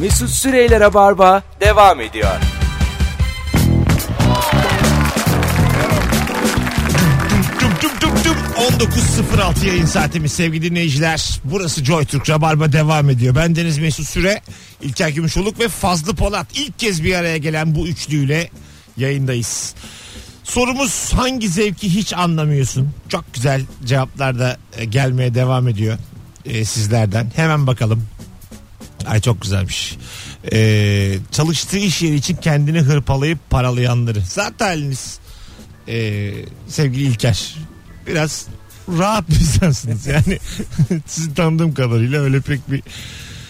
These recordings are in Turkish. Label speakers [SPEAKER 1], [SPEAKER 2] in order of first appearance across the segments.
[SPEAKER 1] Mesut Süreyler'e barba devam ediyor.
[SPEAKER 2] Tüm tüm tüm tüm 19.06 yayın saatimiz sevgili dinleyiciler. Burası Joy Türk Rabarba devam ediyor. Ben Deniz Mesut Süre, İlker Gümüşoluk ve Fazlı Polat. İlk kez bir araya gelen bu üçlüyle yayındayız. Sorumuz hangi zevki hiç anlamıyorsun? Çok güzel cevaplar da e, gelmeye devam ediyor e, sizlerden. Hemen bakalım. Ay çok güzelmiş. E, çalıştığı iş yeri için kendini hırpalayıp paralayanları. Zaten haliniz e, sevgili İlker biraz rahat bir insansınız yani sizi tanıdığım kadarıyla öyle pek bir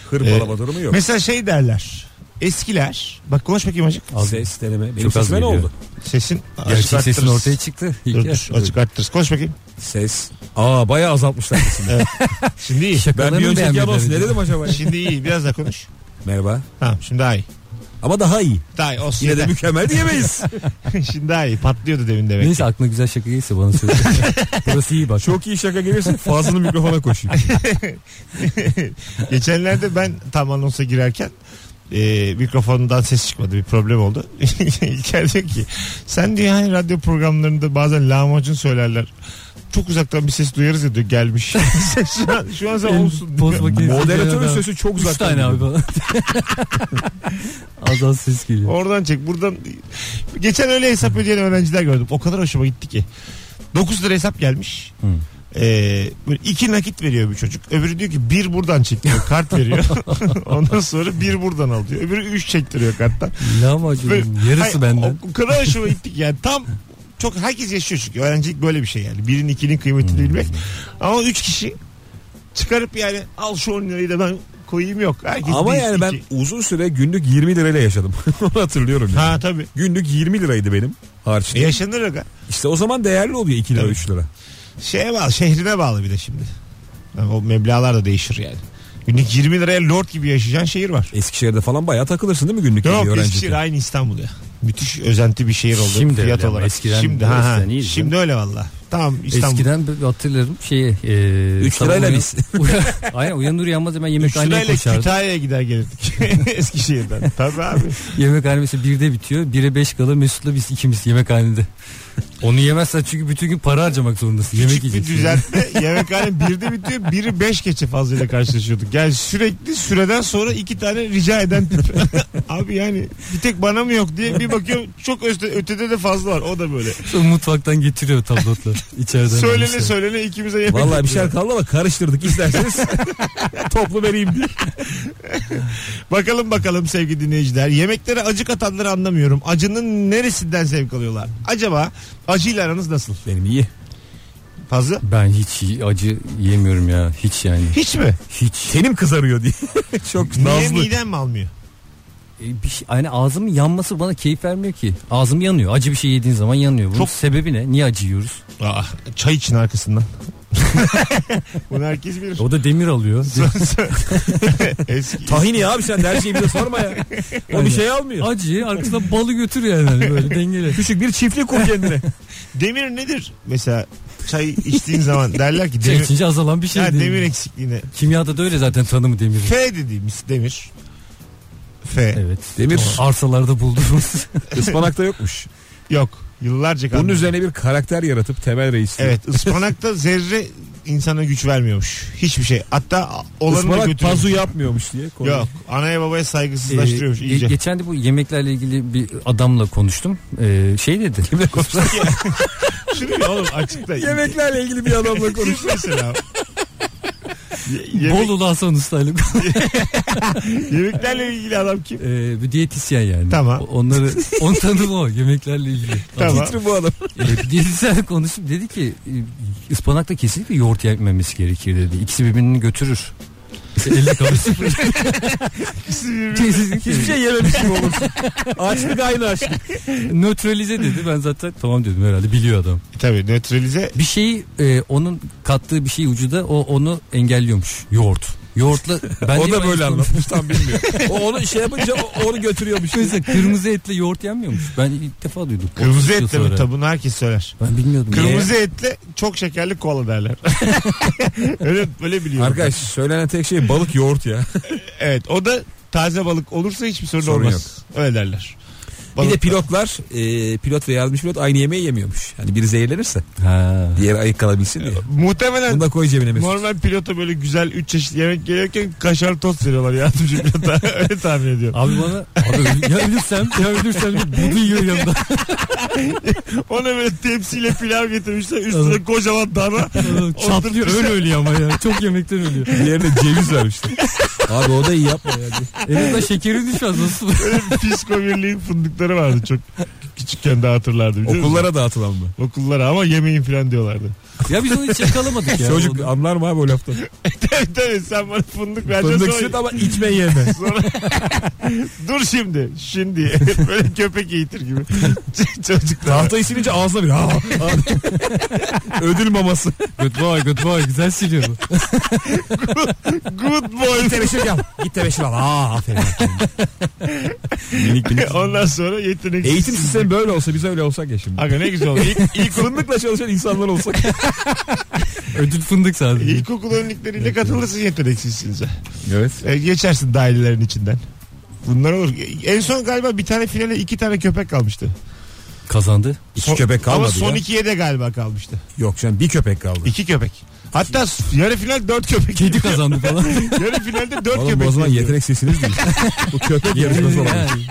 [SPEAKER 3] Hırpalama durumu yok.
[SPEAKER 2] mesela şey derler eskiler bak konuş bakayım azıcık
[SPEAKER 3] Ses deneme. Benim
[SPEAKER 4] Çok az
[SPEAKER 3] sesime ne
[SPEAKER 4] geliyor.
[SPEAKER 3] oldu?
[SPEAKER 2] sesin
[SPEAKER 4] Gerçek
[SPEAKER 2] azıcık
[SPEAKER 4] sesin
[SPEAKER 2] arttırırız.
[SPEAKER 4] ortaya çıktı.
[SPEAKER 2] Dur,
[SPEAKER 4] İlker.
[SPEAKER 2] dur, azıcık arttırırız konuş bakayım
[SPEAKER 3] Ses. Aa bayağı azaltmışlar sesimi.
[SPEAKER 2] şimdi iyi
[SPEAKER 3] ben
[SPEAKER 4] Şakalarını
[SPEAKER 3] bir önceki
[SPEAKER 4] beğenmediler
[SPEAKER 3] anons ne
[SPEAKER 4] acaba?
[SPEAKER 3] dedim acaba?
[SPEAKER 2] şimdi iyi biraz daha konuş
[SPEAKER 3] Merhaba.
[SPEAKER 2] tamam şimdi daha iyi
[SPEAKER 3] Ama daha iyi.
[SPEAKER 2] daha iyi olsun
[SPEAKER 3] Yine de
[SPEAKER 2] yeter.
[SPEAKER 3] mükemmel diyemeyiz.
[SPEAKER 2] şimdi daha iyi patlıyordu demin demek ki.
[SPEAKER 4] Neyse aklına güzel şaka gelirse bana söyle. Burası iyi bak.
[SPEAKER 3] Çok iyi şaka gelirse Fazlı'nın mikrofona koşayım.
[SPEAKER 2] Geçenlerde ben tam anonsa girerken e, mikrofonundan ses çıkmadı bir problem oldu. İlker diyor ki sen diyor hani radyo programlarında bazen lahmacun söylerler. Çok uzaktan bir ses duyarız ya diyor gelmiş. şu an, şu an sen
[SPEAKER 4] Benim
[SPEAKER 2] olsun.
[SPEAKER 4] poz
[SPEAKER 2] diyor.
[SPEAKER 4] makinesi
[SPEAKER 3] Moderatörün
[SPEAKER 4] geliyor da.
[SPEAKER 3] sesi çok
[SPEAKER 4] Üç
[SPEAKER 3] uzaktan.
[SPEAKER 4] tane abi
[SPEAKER 3] geliyor.
[SPEAKER 4] falan. az az ses geliyor.
[SPEAKER 2] Oradan çek buradan. Geçen öyle hesap ödeyen öğrenciler gördüm. O kadar hoşuma gitti ki. 9 lira hesap gelmiş.
[SPEAKER 4] Hı.
[SPEAKER 2] Ee, böyle iki nakit veriyor bir çocuk. Öbürü diyor ki bir buradan çek diyor. Kart veriyor. Ondan sonra bir buradan al diyor. Öbürü üç çektiriyor karttan.
[SPEAKER 4] Lahmacunun
[SPEAKER 3] Hmm,
[SPEAKER 2] Böyle-
[SPEAKER 4] yarısı
[SPEAKER 2] Hayır,
[SPEAKER 4] benden.
[SPEAKER 2] O, o kadar hoşuma gittik yani tam çok herkes yaşıyor çünkü öğrencilik böyle bir şey yani. Birin ikinin kıymetini
[SPEAKER 3] Hmm.
[SPEAKER 2] bilmek. Ama üç kişi çıkarıp yani al şu 10 lirayı da ben koyayım yok. Herkes
[SPEAKER 3] Ama
[SPEAKER 2] biz
[SPEAKER 3] yani
[SPEAKER 2] iki.
[SPEAKER 3] ben uzun süre günlük 20 lirayla yaşadım. Onu hatırlıyorum. yani.
[SPEAKER 2] Ha tabii.
[SPEAKER 3] Günlük 20 liraydı benim
[SPEAKER 2] E,
[SPEAKER 3] harçlığım.
[SPEAKER 2] yaşanır aga.
[SPEAKER 3] İşte o zaman değerli oluyor 2 lira
[SPEAKER 2] Tabii.
[SPEAKER 3] 3 lira.
[SPEAKER 2] Şeye bağlı şehrine bağlı bir de şimdi. Yani o meblalar da değişir yani. Günlük 20 liraya lord gibi yaşayacağın şehir var.
[SPEAKER 3] Eskişehir'de falan bayağı takılırsın değil mi günlük
[SPEAKER 2] Yok
[SPEAKER 3] öğrenciyken?
[SPEAKER 2] Eskişehir aynı İstanbul ya. Müthiş özenti bir şehir oldu
[SPEAKER 4] Şimdi
[SPEAKER 2] fiyat
[SPEAKER 4] öyle ama
[SPEAKER 2] olarak.
[SPEAKER 4] eskiden-
[SPEAKER 2] şimdi ha, ha.
[SPEAKER 4] eskiden iyiydi
[SPEAKER 2] Şimdi öyle valla. Tamam İstanbul.
[SPEAKER 4] Eskiden ben hatırlarım şeyi. E,
[SPEAKER 3] Üç
[SPEAKER 4] sabah
[SPEAKER 3] lirayla
[SPEAKER 4] uyan-
[SPEAKER 3] biz.
[SPEAKER 4] Uyan- Aynen uyanır uyanmaz hemen yemekhaneye
[SPEAKER 2] Şurayla
[SPEAKER 4] koşardım.
[SPEAKER 2] Kütahya'ya gider gelirdik. Eskişehir'den. Tabii abi.
[SPEAKER 4] Yemekhane mesela birde bitiyor. Bire beş kala Mesut'la biz ikimiz yemekhanede. Onu yemezsen çünkü bütün gün para harcamak zorundasın. yemek
[SPEAKER 2] Küçük bir
[SPEAKER 4] yiyeceksin.
[SPEAKER 2] düzeltme. Yemekhane birde bitiyor. Biri beş geçe fazlayla karşılaşıyorduk. Yani sürekli süreden sonra iki tane rica eden tip. abi yani bir tek bana mı yok diye bir bakıyorum çok öte, ötede de fazla var. O da böyle.
[SPEAKER 4] Sonra mutfaktan getiriyor tablotlar içeriden.
[SPEAKER 2] söylene
[SPEAKER 4] almışlar.
[SPEAKER 2] söylene ikimize yemek
[SPEAKER 3] Vallahi bir
[SPEAKER 2] yapıyor.
[SPEAKER 3] şeyler kaldı ama karıştırdık isterseniz. Toplu vereyim diye.
[SPEAKER 2] Bakalım bakalım sevgili dinleyiciler. Yemeklere acık atanları anlamıyorum. Acının neresinden zevk alıyorlar? Acaba acıyla aranız nasıl?
[SPEAKER 3] Benim iyi.
[SPEAKER 2] Fazla?
[SPEAKER 4] Ben hiç iyi- acı yemiyorum ya. Hiç yani.
[SPEAKER 2] Hiç mi?
[SPEAKER 4] Hiç.
[SPEAKER 3] Tenim kızarıyor diye. Çok
[SPEAKER 2] Niye
[SPEAKER 3] nazlı.
[SPEAKER 2] miden mi almıyor?
[SPEAKER 4] E, bir şey, yani ağzımın yanması bana keyif vermiyor ki. Ağzım yanıyor. Acı bir şey yediğin zaman yanıyor. Bunun
[SPEAKER 2] Çok-
[SPEAKER 4] sebebi ne? Niye acı yiyoruz?
[SPEAKER 2] Aa, çay için arkasından. Bunu herkes bilir.
[SPEAKER 4] O da demir alıyor.
[SPEAKER 2] Eski.
[SPEAKER 3] Tahini abi sen de her şeyi bize sorma ya. O
[SPEAKER 4] Öyle.
[SPEAKER 3] bir şey almıyor.
[SPEAKER 4] Acıyı arkasına balı götür yani. hani Böyle dengeli.
[SPEAKER 3] Küçük bir çiftlik kur kendine.
[SPEAKER 2] Demir nedir? Mesela çay içtiğin zaman derler ki
[SPEAKER 4] Çay
[SPEAKER 2] demir,
[SPEAKER 4] içince azalan bir şey
[SPEAKER 2] ha,
[SPEAKER 4] değil.
[SPEAKER 2] demir eksikliğine.
[SPEAKER 4] Kimyada da öyle zaten tanımı demir.
[SPEAKER 2] F dediğimiz demir. F.
[SPEAKER 4] Evet.
[SPEAKER 3] Demir
[SPEAKER 4] Arsalarda bulduğumuz.
[SPEAKER 3] ıspanakta yokmuş.
[SPEAKER 2] Yok. Yıllarca kaldı.
[SPEAKER 3] Bunun üzerine bir karakter yaratıp temel reis. diyor.
[SPEAKER 2] Evet ıspanakta zerre insana güç vermiyormuş. Hiçbir şey. Hatta olanı da
[SPEAKER 3] Ispanak pazu
[SPEAKER 2] götürüyormuş.
[SPEAKER 3] yapmıyormuş diye. koymuş.
[SPEAKER 2] Yok. Anaya babaya saygısızlaştırıyormuş
[SPEAKER 4] Ee,
[SPEAKER 2] iyice.
[SPEAKER 4] ge- geçen de bu yemeklerle ilgili bir adamla konuştum. Ee, şey dedi. Kimle konuştun?
[SPEAKER 2] Şunu bir oğlum açıkla.
[SPEAKER 3] Yemeklerle ilgili bir adamla konuş.
[SPEAKER 2] Siz mesela. Ye- yemek-
[SPEAKER 4] Bolulu Hasan Usta'yla.
[SPEAKER 2] yemeklerle ilgili adam kim?
[SPEAKER 4] Ee, bir diyetisyen yani.
[SPEAKER 2] Tamam.
[SPEAKER 4] O- Onları, onun tanımı o yemeklerle ilgili.
[SPEAKER 2] Tamam.
[SPEAKER 3] Titri bu adam.
[SPEAKER 4] Ee, bir diyetisyen konuşup dedi ki e, ıspanakla kesinlikle yoğurt yememesi gerekir dedi. İkisi birbirini götürür. İşte elde kalırsın.
[SPEAKER 2] İkisi birbirine-
[SPEAKER 3] Hiçbir şey yememiş gibi olursun. Açlık aynı açlık.
[SPEAKER 4] Nötralize dedi. Ben zaten tamam dedim herhalde biliyor adam.
[SPEAKER 2] Tabii nötralize
[SPEAKER 4] Bir şeyi e, onun kattığı bir şey vücuda o onu engelliyormuş. Yoğurt. Yoğurtla ben
[SPEAKER 3] o
[SPEAKER 4] de-
[SPEAKER 3] da böyle
[SPEAKER 4] ben-
[SPEAKER 3] anlatmış tam bilmiyor. O onu şey yapınca o- onu götürüyormuş.
[SPEAKER 4] Mesela kırmızı etle yoğurt yenmiyormuş. Ben ilk defa duydum. Otuz
[SPEAKER 2] kırmızı
[SPEAKER 4] yıl
[SPEAKER 2] etle
[SPEAKER 4] sonra.
[SPEAKER 2] mi? Tabii bunu herkes söyler.
[SPEAKER 4] Ben bilmiyordum.
[SPEAKER 2] Kırmızı etle çok şekerli kola derler. öyle öyle biliyorum.
[SPEAKER 3] Arkadaş söylenen tek şey balık yoğurt ya.
[SPEAKER 2] Evet o da Taze balık olursa hiçbir sorun,
[SPEAKER 3] Sorun
[SPEAKER 2] olmaz. Öyle derler.
[SPEAKER 3] Bir
[SPEAKER 2] Balık-
[SPEAKER 3] de pilotlar e, pilot ve yardımcı pilot aynı yemeği yemiyormuş. Hani biri zehirlenirse
[SPEAKER 4] Ha.
[SPEAKER 3] diğeri ayık kalabilsin diye.
[SPEAKER 2] Muhtemelen
[SPEAKER 3] Bunu da koy cebine Mesut.
[SPEAKER 2] normal pilota böyle güzel 3 çeşit yemek geliyorken kaşar tost veriyorlar yardımcı pilota. Öyle tahmin ediyorum.
[SPEAKER 4] Abi bana abi öl- ya ölürsem ya ölürsem bir budu yiyor yanımda.
[SPEAKER 2] Ona böyle tepsiyle pilav getirmişler. Üstüne kocaman dana.
[SPEAKER 4] Çatlıyor öyle ölüyor ama ya. Çok yemekten ölüyor.
[SPEAKER 3] Diğerine ceviz vermişler. Abi o da iyi yapma ya.
[SPEAKER 4] En azından şekerin düşmez nasıl?
[SPEAKER 2] Öyle Fisko Birliği'nin fındıkları vardı çok. Küçükken de hatırlardım. biliyor musun?
[SPEAKER 3] Okullara dağıtılan mı?
[SPEAKER 2] Okullara ama yemeyin falan diyorlardı.
[SPEAKER 4] ya biz onu hiç yakalamadık ya.
[SPEAKER 3] Çocuk
[SPEAKER 4] Onu-
[SPEAKER 3] anlar mı abi o laftan?
[SPEAKER 2] tabii tabii sen bana fındık vereceksin
[SPEAKER 3] Fındık
[SPEAKER 2] sonra-
[SPEAKER 3] süt ama içme yeme.
[SPEAKER 2] Sonra dur şimdi. Şimdi böyle köpek eğitir gibi. Ç- Çocuklar.
[SPEAKER 3] Tahtayı silince ağzına bir ha, ha. Ödül maması.
[SPEAKER 4] good boy good boy güzel siliyor. bu.
[SPEAKER 2] Good boy.
[SPEAKER 3] tebeşir al. Git tebeşir al. Aa aferin. minik minik.
[SPEAKER 2] Ondan sonra yetenek.
[SPEAKER 3] Eğitim sistemi böyle olsa biz öyle olsak ya şimdi.
[SPEAKER 2] Aga ne güzel oldu. İlk, ilk,
[SPEAKER 3] Fındıkla çalışan insanlar olsak.
[SPEAKER 4] Ödül fındık sadece.
[SPEAKER 2] ilkokul önlükleriyle katılırsın yeteneksizsiniz.
[SPEAKER 3] evet.
[SPEAKER 2] E, geçersin dairelerin içinden. Bunlar olur. En son galiba bir tane finale iki tane köpek kalmıştı.
[SPEAKER 4] Kazandı.
[SPEAKER 3] İki
[SPEAKER 2] Son-
[SPEAKER 3] köpek kalmadı
[SPEAKER 2] Ama son
[SPEAKER 3] ya.
[SPEAKER 2] ikiye de galiba kalmıştı.
[SPEAKER 3] Yok canım bir köpek kaldı.
[SPEAKER 2] İki köpek. Hatta yarı final dört köpek.
[SPEAKER 4] Kedi kazandı falan.
[SPEAKER 2] yarı finalde dört
[SPEAKER 3] Oğlum
[SPEAKER 2] köpek.
[SPEAKER 3] o zaman
[SPEAKER 2] geliyor.
[SPEAKER 3] yetenek sesiniz değil. Bu köpek yarışması olan.
[SPEAKER 4] Yani.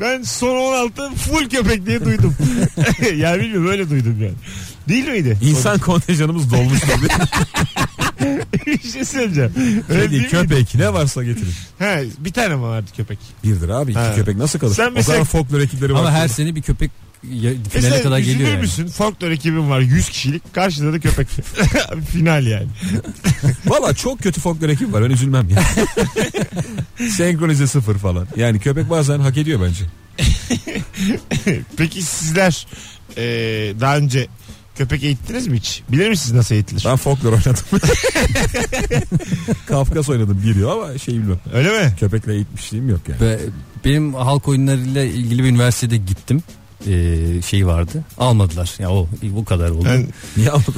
[SPEAKER 2] Ben son 16 full köpek diye duydum. yani bilmiyorum öyle duydum yani. Değil miydi?
[SPEAKER 3] İnsan kontenjanımız dolmuş tabii.
[SPEAKER 2] bir şey söyleyeceğim. Öyle değil
[SPEAKER 3] Peki
[SPEAKER 2] miydi?
[SPEAKER 3] köpek ne varsa getirin.
[SPEAKER 2] He, bir tane mi vardı köpek?
[SPEAKER 3] Birdir abi iki
[SPEAKER 2] Ha.
[SPEAKER 3] köpek nasıl kalır?
[SPEAKER 2] Sen
[SPEAKER 3] o
[SPEAKER 2] mesela-
[SPEAKER 3] kadar folklor ekipleri var.
[SPEAKER 4] Ama her sene bir köpek ya- finale
[SPEAKER 2] Mesela
[SPEAKER 4] kadar
[SPEAKER 2] üzülür
[SPEAKER 4] geliyor yani.
[SPEAKER 2] müsün? Folklor ekibim var 100 kişilik. Karşıda da köpek. Final yani.
[SPEAKER 3] Valla çok kötü folklor ekibi var ben üzülmem ya. Senkronize sıfır falan. Yani köpek bazen hak ediyor bence.
[SPEAKER 2] Peki sizler eee, daha önce köpek eğittiniz mi hiç? Bilir misiniz nasıl eğitilir?
[SPEAKER 3] Ben folklor oynadım. Kafkas oynadım biliyor ama şey bilmiyorum.
[SPEAKER 2] Öyle mi?
[SPEAKER 3] Köpekle eğitmişliğim yok yani.
[SPEAKER 4] Ve benim halk oyunlarıyla ilgili bir üniversitede gittim. Ee, şey vardı. Almadılar. Ya o bu kadar oldu.
[SPEAKER 2] Yani
[SPEAKER 3] Niye almadın?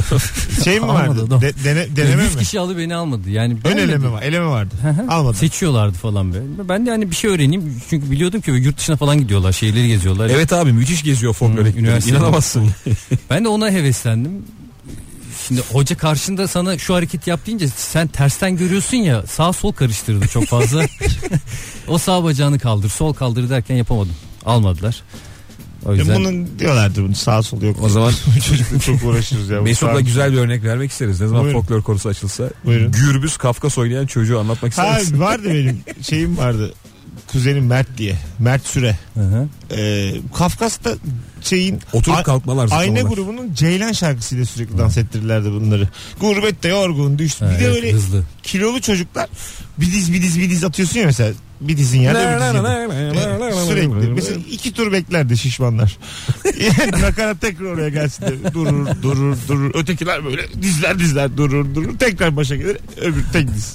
[SPEAKER 2] şey mi
[SPEAKER 4] Almadı
[SPEAKER 2] vardı?
[SPEAKER 4] adam.
[SPEAKER 2] De- dene-
[SPEAKER 4] Yani
[SPEAKER 2] deneme
[SPEAKER 4] 100
[SPEAKER 2] mi?
[SPEAKER 4] kişi alı beni almadı. Yani
[SPEAKER 2] Ön
[SPEAKER 4] beğenmedim.
[SPEAKER 2] eleme var. Eleme vardı.
[SPEAKER 4] Hı hı.
[SPEAKER 2] Almadı.
[SPEAKER 4] Seçiyorlardı falan be. Ben de hani bir şey öğreneyim. Çünkü biliyordum ki yurt dışına falan gidiyorlar. Şehirleri geziyorlar.
[SPEAKER 3] evet abi müthiş geziyor folklor
[SPEAKER 4] Hmm,
[SPEAKER 3] ekipleri.
[SPEAKER 4] üniversite-
[SPEAKER 3] İnanamazsın.
[SPEAKER 4] Ben de ona heveslendim. Şimdi hoca karşında sana şu hareketi yap deyince sen tersten görüyorsun ya sağ sol karıştırdı çok fazla. o sağ bacağını kaldır sol kaldır derken yapamadım. Almadılar. O
[SPEAKER 2] Ya
[SPEAKER 4] yüzden
[SPEAKER 2] Bunun diyorlardı E bunu sağ sol yok.
[SPEAKER 3] O zaman
[SPEAKER 2] Çocukla çok uğraşırız ya. Bu
[SPEAKER 3] Mesut'la
[SPEAKER 2] sağ-
[SPEAKER 3] güzel bir örnek vermek isteriz. Ne zaman
[SPEAKER 2] Buyurun.
[SPEAKER 3] folklor konusu açılsa.
[SPEAKER 2] Buyurun.
[SPEAKER 3] Gürbüz Kafkas oynayan çocuğu anlatmak ister
[SPEAKER 2] Ha
[SPEAKER 3] misin?
[SPEAKER 2] vardı benim şeyim vardı. Kuzenim Mert diye. Mert Süre.
[SPEAKER 4] Hı hı.
[SPEAKER 2] Ee, Kafkas'ta şeyin
[SPEAKER 3] Oturup
[SPEAKER 2] A-
[SPEAKER 3] kalkmalar.
[SPEAKER 2] Ayna
[SPEAKER 3] zıplamalar.
[SPEAKER 2] grubunun Ceylan şarkısıyla sürekli dans ettirirlerdi bunları. Gurbette yorgun düştü.
[SPEAKER 4] Ha,
[SPEAKER 2] bir de
[SPEAKER 4] evet,
[SPEAKER 2] öyle
[SPEAKER 4] hızlı.
[SPEAKER 2] kilolu çocuklar bir diz bir diz bir diz atıyorsun ya mesela. Bir dizin yerde öbür dizin yerde. Ee, Sürekli. Mesela iki tur beklerdi şişmanlar. Yani Nakarat tekrar oraya gelsin de durur durur durur. Ötekiler böyle dizler dizler durur durur. Tekrar başa gelir öbür tek diz.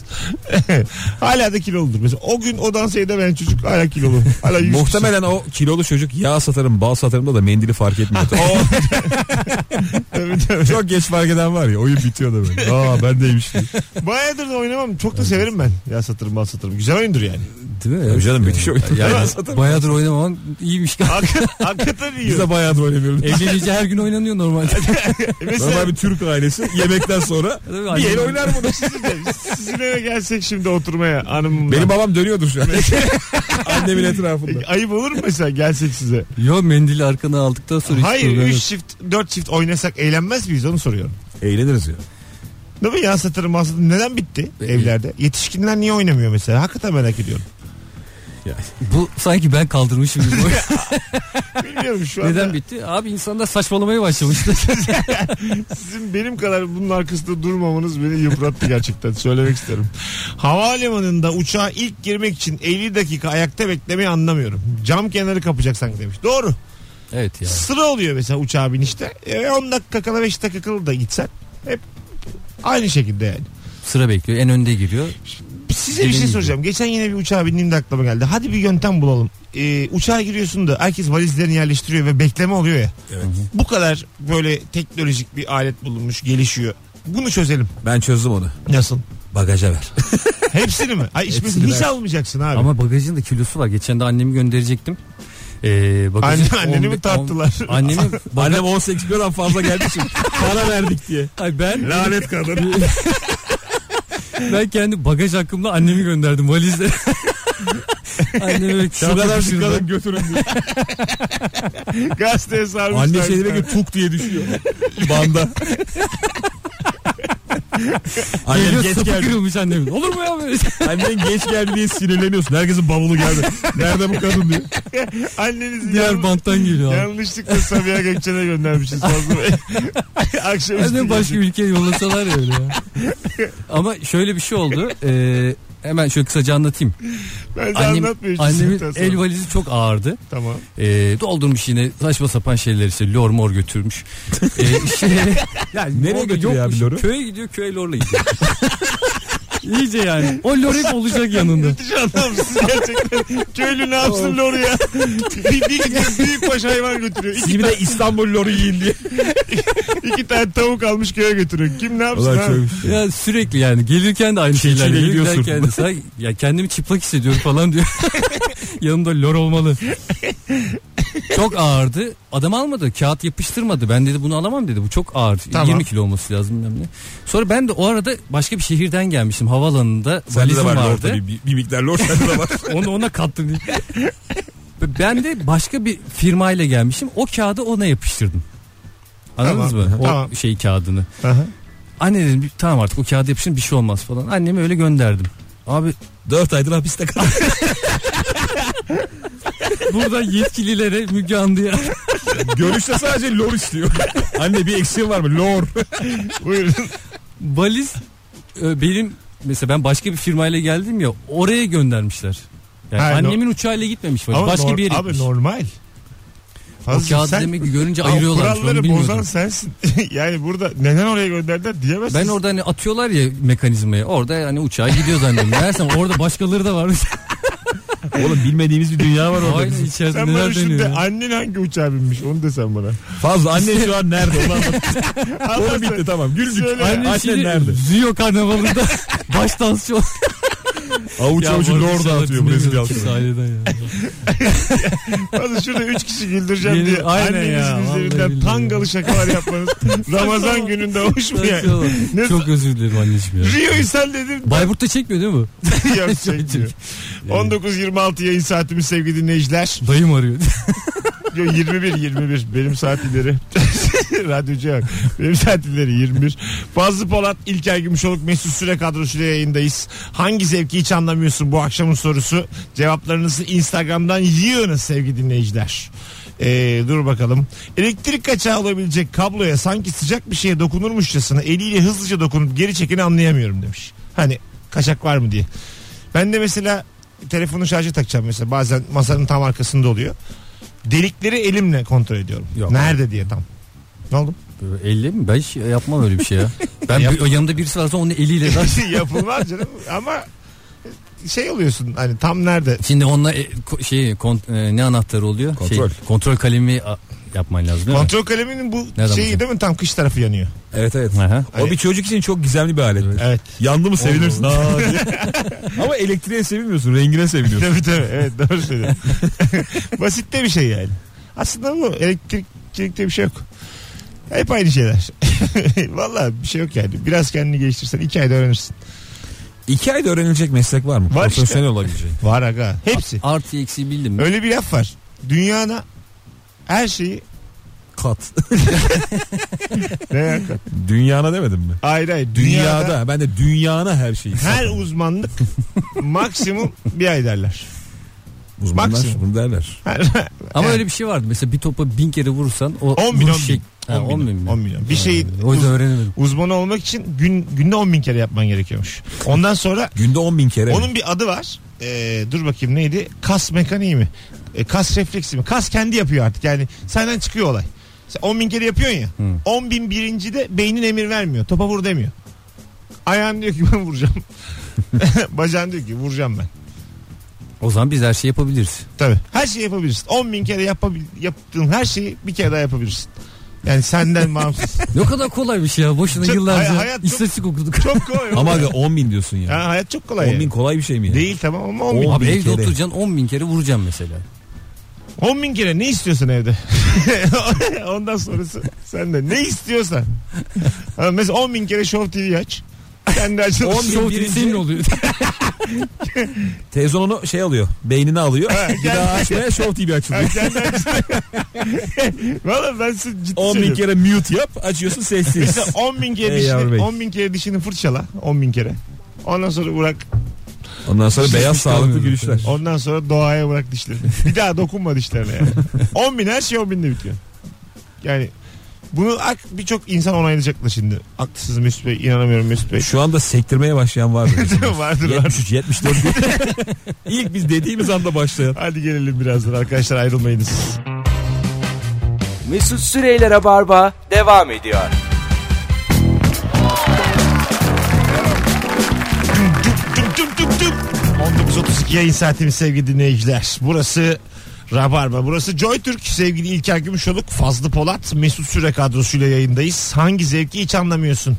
[SPEAKER 2] hala da kiloludur. Mesela o gün o dansı edemeyen çocuk hala kilolu. Hala yüz
[SPEAKER 3] Muhtemelen o kilolu çocuk yağ satarım bal satarım da da mendili fark etmiyor.
[SPEAKER 2] Tabii, tabii.
[SPEAKER 3] Çok geç fark eden var ya oyun bitiyor da böyle. Aa ben deymiş.
[SPEAKER 2] Bayağıdır da oynamam. Çok da severim ben. Ya satırım bal satırım. Güzel oyundur yani.
[SPEAKER 4] Değil mi?
[SPEAKER 3] Tabii canım, müthiş oyun.
[SPEAKER 4] Yani, bayağıdır oynamaman iyiymiş.
[SPEAKER 2] Hakikaten, hakikaten iyi.
[SPEAKER 3] Biz de bayağıdır oynamıyoruz.
[SPEAKER 4] Evlenince her gün oynanıyor normalde.
[SPEAKER 2] E Mesela
[SPEAKER 3] Normal bir Türk ailesi yemekten sonra bir el oynar bunu.
[SPEAKER 2] sizin eve gelsek şimdi oturmaya hanımımla. E,
[SPEAKER 3] Benim babam dönüyordur şu an. Annemin etrafında.
[SPEAKER 2] Ayıp olur mu mesela gelsek size?
[SPEAKER 4] Yo mendili arkana aldıktan sonra hiç
[SPEAKER 2] Hayır
[SPEAKER 4] problem
[SPEAKER 2] 3
[SPEAKER 4] yok.
[SPEAKER 2] çift 4 çift oynasak eğlenmez miyiz onu soruyorum.
[SPEAKER 3] Eğleniriz ya.
[SPEAKER 2] Değil mi? Yan satırım mal satırım neden bitti
[SPEAKER 4] Ee,
[SPEAKER 2] evlerde? Yetişkinler niye oynamıyor mesela? Hakikaten merak ediyorum.
[SPEAKER 4] Bu sanki ben kaldırmışım gibi.
[SPEAKER 2] Bilmiyorum şu anda.
[SPEAKER 4] Neden bitti? Abi insanlar saçmalamaya başlamıştı.
[SPEAKER 2] Sizin benim kadar bunun arkasında durmamanız beni yıprattı gerçekten. Söylemek isterim. Havalimanında uçağa ilk girmek için 50 dakika ayakta beklemeyi anlamıyorum. Cam kenarı kapacak sanki demiş. Doğru.
[SPEAKER 4] evet ya.
[SPEAKER 2] Sıra oluyor mesela uçağa binişte. E, 10 dakika kala 5 dakika kala da gitsen. Hep aynı şekilde yani.
[SPEAKER 4] Sıra bekliyor. En önde giriyor.
[SPEAKER 2] Size bir şey
[SPEAKER 4] Dediğim
[SPEAKER 2] soracağım. Geçen yine bir uçağa bindiğim de aklıma geldi. Hadi bir yöntem bulalım. Ee, uçağa giriyorsun da herkes valizlerini yerleştiriyor ve bekleme oluyor ya.
[SPEAKER 3] Evet.
[SPEAKER 2] Bu kadar böyle teknolojik bir alet bulunmuş, gelişiyor. Bunu çözelim.
[SPEAKER 3] Ben çözdüm onu.
[SPEAKER 2] Nasıl?
[SPEAKER 3] bagaja ver.
[SPEAKER 2] Hepsini mi? Ay hiçbir-
[SPEAKER 3] Hepsini
[SPEAKER 2] hiç
[SPEAKER 3] ver.
[SPEAKER 2] almayacaksın abi.
[SPEAKER 4] Ama bagajın da kilosu var. Geçen de annemi gönderecektim. Ee, bagajın
[SPEAKER 2] Anne- anneni
[SPEAKER 4] 11
[SPEAKER 2] mi tarttılar?
[SPEAKER 4] on- Annemi
[SPEAKER 3] Annem 18 liradan fazla gelmişim. Para verdik diye.
[SPEAKER 4] Ay ben
[SPEAKER 2] Lanet kadın.
[SPEAKER 4] ben kendi bagaj hakkımla annemi gönderdim valizle. Anneme
[SPEAKER 3] Şu kadar şu kadar götürün diye.
[SPEAKER 2] Gazeteye sarmışlar.
[SPEAKER 3] Anne şey demek ki tuk diye düşüyor. Banda. Annem
[SPEAKER 4] Geliyor
[SPEAKER 3] geç
[SPEAKER 4] sapı
[SPEAKER 3] geldi.
[SPEAKER 4] kırılmış annemin. Olur mu ya böyle?
[SPEAKER 3] Annen geç geldi diye sinirleniyorsun. Herkesin bavulu geldi. Nerede bu kadın diye.
[SPEAKER 2] Annenizi
[SPEAKER 4] Diğer
[SPEAKER 2] yan-
[SPEAKER 4] banttan geliyor abi.
[SPEAKER 2] Yanlışlıkla Sabiha Gökçen'e göndermişiz Fazlı Bey. Akşam
[SPEAKER 4] Annem
[SPEAKER 2] üstü
[SPEAKER 4] başka ülkeye yollasalar ya öyle ya. Ama şöyle bir şey oldu. Ee, hemen şöyle kısaca anlatayım.
[SPEAKER 2] Ben size
[SPEAKER 4] Annem,
[SPEAKER 2] anlatmayayım.
[SPEAKER 4] annemin
[SPEAKER 2] Sizden sonra.
[SPEAKER 4] el valizi çok ağırdı.
[SPEAKER 2] Tamam.
[SPEAKER 4] Ee, doldurmuş yine saçma sapan şeyler işte lor mor götürmüş. Ee, şey,
[SPEAKER 3] nereye
[SPEAKER 4] lor da
[SPEAKER 3] götürüyor
[SPEAKER 4] yokmuş.
[SPEAKER 3] abi loru?
[SPEAKER 4] Köye gidiyor köye lorla gidiyor. İyice yani. O lor hep olacak yanında.
[SPEAKER 2] Müthiş anlamsız gerçekten. Köylü ne yapsın loru ya? bir, bir gidiyor büyük baş hayvan götürüyor. İki,
[SPEAKER 3] Siz bir de İstanbul loru yiyin diye.
[SPEAKER 2] iki tane tavuk almış köye götürüyor. Kim ne yapsın
[SPEAKER 3] Ulan
[SPEAKER 2] abi?
[SPEAKER 3] çok şey.
[SPEAKER 4] Ya sürekli yani gelirken de aynı
[SPEAKER 3] Çiğ
[SPEAKER 4] şeyler
[SPEAKER 3] çiğle
[SPEAKER 4] geliyor.
[SPEAKER 3] gidiyorsun.
[SPEAKER 4] Giderken de say- ya kendimi çıplak hissediyorum falan diyor. Yanımda lor olmalı. çok ağırdı. Adam almadı. Kağıt yapıştırmadı. Ben dedi bunu alamam dedi. Bu çok ağır.
[SPEAKER 2] Tamam.
[SPEAKER 4] 20 kilo olması lazım bilmem ne. Sonra ben de o arada başka bir şehirden gelmiştim. Havaalanında
[SPEAKER 3] Sende de
[SPEAKER 4] valizim
[SPEAKER 3] var lor
[SPEAKER 4] vardı.
[SPEAKER 3] tabii. Bir, bir miktar lor sende de var.
[SPEAKER 4] Onu ona kattım diye. Ben de başka bir firmayla gelmişim. O kağıdı ona yapıştırdım. Anladınız
[SPEAKER 2] Tamam,
[SPEAKER 4] mı? O
[SPEAKER 2] tamam.
[SPEAKER 4] şey kağıdını.
[SPEAKER 2] Aha.
[SPEAKER 4] Anne dedim "bir- tamam artık o kağıdı yapışın bir şey olmaz falan. Annemi öyle gönderdim. Abi
[SPEAKER 3] 4 aydır hapiste kaldım.
[SPEAKER 4] buradan yetkililere Müge Anlı'ya
[SPEAKER 3] Görüşte sadece lor istiyor. Anne bir eksiğin var mı? Lor.
[SPEAKER 2] Buyurun.
[SPEAKER 4] valiz e, benim mesela ben başka bir firmayla geldim ya oraya göndermişler. Yani
[SPEAKER 2] Ha, no-
[SPEAKER 4] annemin uçağıyla gitmemiş valiz.
[SPEAKER 2] Ama
[SPEAKER 4] başka
[SPEAKER 2] nor-
[SPEAKER 4] bir yere
[SPEAKER 2] Abi
[SPEAKER 4] gitmiş.
[SPEAKER 2] normal.
[SPEAKER 4] o
[SPEAKER 2] Fazlı
[SPEAKER 4] kağıdı
[SPEAKER 2] sen
[SPEAKER 4] demek ki görünce
[SPEAKER 2] Ama
[SPEAKER 4] ayırıyorlar.
[SPEAKER 2] kuralları bozan sensin. yani burada neden oraya gönderdiler diyemezsin.
[SPEAKER 4] Ben orada hani atıyorlar ya mekanizmayı. Orada yani uçağa gidiyor zannediyorum. Meğersem orada başkaları da varmış.
[SPEAKER 3] Oğlum bilmediğimiz bir dünya var orada.
[SPEAKER 4] Aynı içerisinde
[SPEAKER 2] sen bana
[SPEAKER 4] neler
[SPEAKER 2] şunu
[SPEAKER 4] dönüyor.
[SPEAKER 2] de
[SPEAKER 4] ya?
[SPEAKER 2] annen hangi uçağa binmiş onu desen bana.
[SPEAKER 3] Fazla anne şu an nerede? Ulan
[SPEAKER 2] Allah
[SPEAKER 3] Konu bitti tamam. Güldük.
[SPEAKER 2] Söyle.
[SPEAKER 3] Anne,
[SPEAKER 4] Annem şimdi
[SPEAKER 3] nerede?
[SPEAKER 4] Rio karnavalında baş dansçı olarak-
[SPEAKER 3] Avuç
[SPEAKER 4] Ya
[SPEAKER 3] avucu
[SPEAKER 4] varmış
[SPEAKER 3] lor
[SPEAKER 4] ya,
[SPEAKER 3] dağıtıyor
[SPEAKER 4] dinlemiyorum
[SPEAKER 3] Brezilya
[SPEAKER 4] ki
[SPEAKER 3] halkına.
[SPEAKER 4] sahiden ya.
[SPEAKER 2] Fazla şurada 3 kişi güldüreceğim
[SPEAKER 4] Yeni-
[SPEAKER 2] diye
[SPEAKER 4] Aynen
[SPEAKER 2] annenizin
[SPEAKER 4] ya, vallahi
[SPEAKER 2] üzerinden
[SPEAKER 4] billahi
[SPEAKER 2] tangalı şakalar yapmanız Ramazan gününde hoş mu yani?
[SPEAKER 4] Saçmalama.
[SPEAKER 2] Ne-
[SPEAKER 4] Çok özür dilerim anneciğim ya.
[SPEAKER 2] Rio'yu sen dedin
[SPEAKER 4] Bayburt'ta çekmiyor değil mi?
[SPEAKER 2] yok çekmiyor. 19.26 yayın saatimiz sevgili dinleyiciler.
[SPEAKER 4] Dayım arıyor.
[SPEAKER 2] Yo, 21 21 benim saat ileri. Radyocu yok. Benim saat ileri 21. Fazlı Polat, İlker Gümüşoluk, Mesut Süre kadrosuyla yayındayız. Hangi zevki hiç anlamıyorsun bu akşamın sorusu? Cevaplarınızı Instagram'dan yığınız sevgili dinleyiciler. Ee, dur bakalım. Elektrik kaçağı olabilecek kabloya sanki sıcak bir şeye dokunurmuşçasına eliyle hızlıca dokunup geri çekeni anlayamıyorum demiş. Hani kaçak var mı diye. Ben de mesela telefonun şarjı takacağım mesela bazen masanın tam arkasında oluyor. Delikleri elimle kontrol ediyorum.
[SPEAKER 4] Yok.
[SPEAKER 2] Nerede diye tam. Ne oldu?
[SPEAKER 4] Böyle Elle mi? Ben hiç yapmam öyle bir şey ya. Ben bir- yanımda birisi varsa onun eliyle
[SPEAKER 2] Yapılmaz canım ama şey oluyorsun hani tam nerede?
[SPEAKER 4] Şimdi onunla e, ko- şey kon- e, ne anahtarı oluyor?
[SPEAKER 3] Kontrol.
[SPEAKER 4] Şey, kontrol kalemi a- yapman lazım değil mi?
[SPEAKER 2] Kontrol kaleminin bu
[SPEAKER 4] Nereden
[SPEAKER 2] şeyi
[SPEAKER 4] bakayım?
[SPEAKER 2] değil mi? Tam kış tarafı yanıyor.
[SPEAKER 3] Evet evet.
[SPEAKER 4] Aha.
[SPEAKER 2] Hani
[SPEAKER 3] O bir çocuk için çok gizemli bir alet.
[SPEAKER 2] Evet.
[SPEAKER 3] Yandı mı sevinirsin. Aa diye. Ama elektriğe sevinmiyorsun. Rengine seviniyorsun.
[SPEAKER 2] tabii tabii. Evet doğru söylüyorsun. Basit de bir şey yani. Aslında bu elektrikçilikte bir şey yok. Hep aynı şeyler. Valla bir şey yok yani. Biraz kendini geliştirsen iki ayda öğrenirsin.
[SPEAKER 3] İki ayda öğrenilecek meslek var mı?
[SPEAKER 2] Var işte.
[SPEAKER 3] Profesyonel olabilecek.
[SPEAKER 2] Var aga. Hepsi.
[SPEAKER 4] Artı eksi bildim mi?
[SPEAKER 2] Öyle bir laf var. Dünyana her şeyi
[SPEAKER 3] Kat.
[SPEAKER 2] ne ya?
[SPEAKER 3] Dünyana demedim mi?
[SPEAKER 2] Hayır hayır.
[SPEAKER 3] Dünyada.
[SPEAKER 2] dünyada
[SPEAKER 3] Ben de dünyana her şeyi.
[SPEAKER 2] her uzmanlık maksimum bir ay derler.
[SPEAKER 3] Uzmanlar
[SPEAKER 2] Maksimum.
[SPEAKER 3] bunu derler.
[SPEAKER 4] Ama
[SPEAKER 2] Yani.
[SPEAKER 4] öyle bir şey vardı. Mesela bir topa bin kere vurursan o
[SPEAKER 2] 10 bin,
[SPEAKER 4] vuruş
[SPEAKER 2] 10 bin.
[SPEAKER 4] şek- Ha, 10 bin. mi?
[SPEAKER 2] 10 milyon. Bir şeyin
[SPEAKER 4] O
[SPEAKER 2] uz-
[SPEAKER 4] yüzden öğrenemedim.
[SPEAKER 2] uzmanı olmak için gün, günde 10 bin kere yapman gerekiyormuş. Ondan sonra
[SPEAKER 3] Günde 10 bin kere.
[SPEAKER 2] onun bir adı var. Ee, dur bakayım neydi? Kas mekaniği mi? Ee, kas refleksi mi? Kas kendi yapıyor artık. Yani senden çıkıyor olay. Sen 10 bin kere yapıyorsun ya.
[SPEAKER 3] Hmm.
[SPEAKER 4] Hı.
[SPEAKER 2] 10 bin birinci de beynin emir vermiyor. Topa vur demiyor. Ayağım diyor ki ben vuracağım. Bacağım diyor ki vuracağım ben.
[SPEAKER 4] O zaman biz her şeyi yapabiliriz.
[SPEAKER 2] Tabii. Her şeyi yapabilirsin. 10 bin kere yapabil- yaptığın her şeyi bir kere daha yapabilirsin. Yani senden bağımsız.
[SPEAKER 4] Ne kadar kolay bir şey ya. Boşuna
[SPEAKER 2] Çok- hay-
[SPEAKER 4] yıllarca
[SPEAKER 2] hayat çok-
[SPEAKER 4] istatistik okuduk.
[SPEAKER 2] çok kolay. oğlum.
[SPEAKER 3] Ama aga 10 bin diyorsun ya.
[SPEAKER 2] Ha, hayat çok kolay.
[SPEAKER 3] 10 bin
[SPEAKER 2] yani.
[SPEAKER 3] kolay bir şey mi ya?
[SPEAKER 2] Değil tamam ama 10 bin.
[SPEAKER 3] On
[SPEAKER 4] Abi
[SPEAKER 3] bin
[SPEAKER 4] evde
[SPEAKER 3] kere.
[SPEAKER 4] oturacaksın 10 bin kere vuracaksın mesela.
[SPEAKER 2] 10 bin kere ne istiyorsan evde. Ondan sonrası sende. Ne istiyorsan. Ha, Mesela 10 bin kere Show TV aç. Kendi açılır.
[SPEAKER 3] 10 bin
[SPEAKER 4] Show
[SPEAKER 3] birinci-
[SPEAKER 4] senin oluyor.
[SPEAKER 3] Televizyon onu şey alıyor. Beynini alıyor. bir
[SPEAKER 2] gel-
[SPEAKER 3] daha açmaya Show TV açılıyor.
[SPEAKER 2] Kendi açılır. Valla ben size ciddi
[SPEAKER 3] 10 bin
[SPEAKER 2] söylüyorum.
[SPEAKER 3] kere mute yap açıyorsun sessiz.
[SPEAKER 2] Mesela 10 bin kere
[SPEAKER 3] Ey
[SPEAKER 2] dişini,
[SPEAKER 3] yavrum bey.
[SPEAKER 2] 10 bin kere dişini fırçala. 10 bin kere. Ondan sonra bırak.
[SPEAKER 3] Ondan sonra beyaz
[SPEAKER 4] Hiçbir şey
[SPEAKER 3] sağlıklı
[SPEAKER 4] kalmıyor
[SPEAKER 3] gülüşler.
[SPEAKER 2] Ondan sonra doğaya bırak dişlerini. Bir daha dokunma dişlerine yani. 10 bin her şey 10 binde bitiyor. Yani bunu ak- birçok insan onaylayacaktır şimdi. Haklısınız Mesut Bey. inanamıyorum Mesut Bey.
[SPEAKER 3] Şu anda sektirmeye başlayan var mı?
[SPEAKER 2] vardır vardır.
[SPEAKER 3] 73, 74. İlk biz dediğimiz anda başlayan.
[SPEAKER 2] Hadi gelelim birazdan arkadaşlar ayrılmayınız.
[SPEAKER 1] Mesut Süreyler'e barba devam ediyor.
[SPEAKER 2] Tüp tüp tüp tüp tüp. 19.32 yayın saatimiz sevgili dinleyiciler. Burası Rabarba. Burası Joy Türk. Sevgili İlker Gümüşoluk, Fazlı Polat, Mesut Süre kadrosuyla yayındayız. Hangi zevki hiç anlamıyorsun?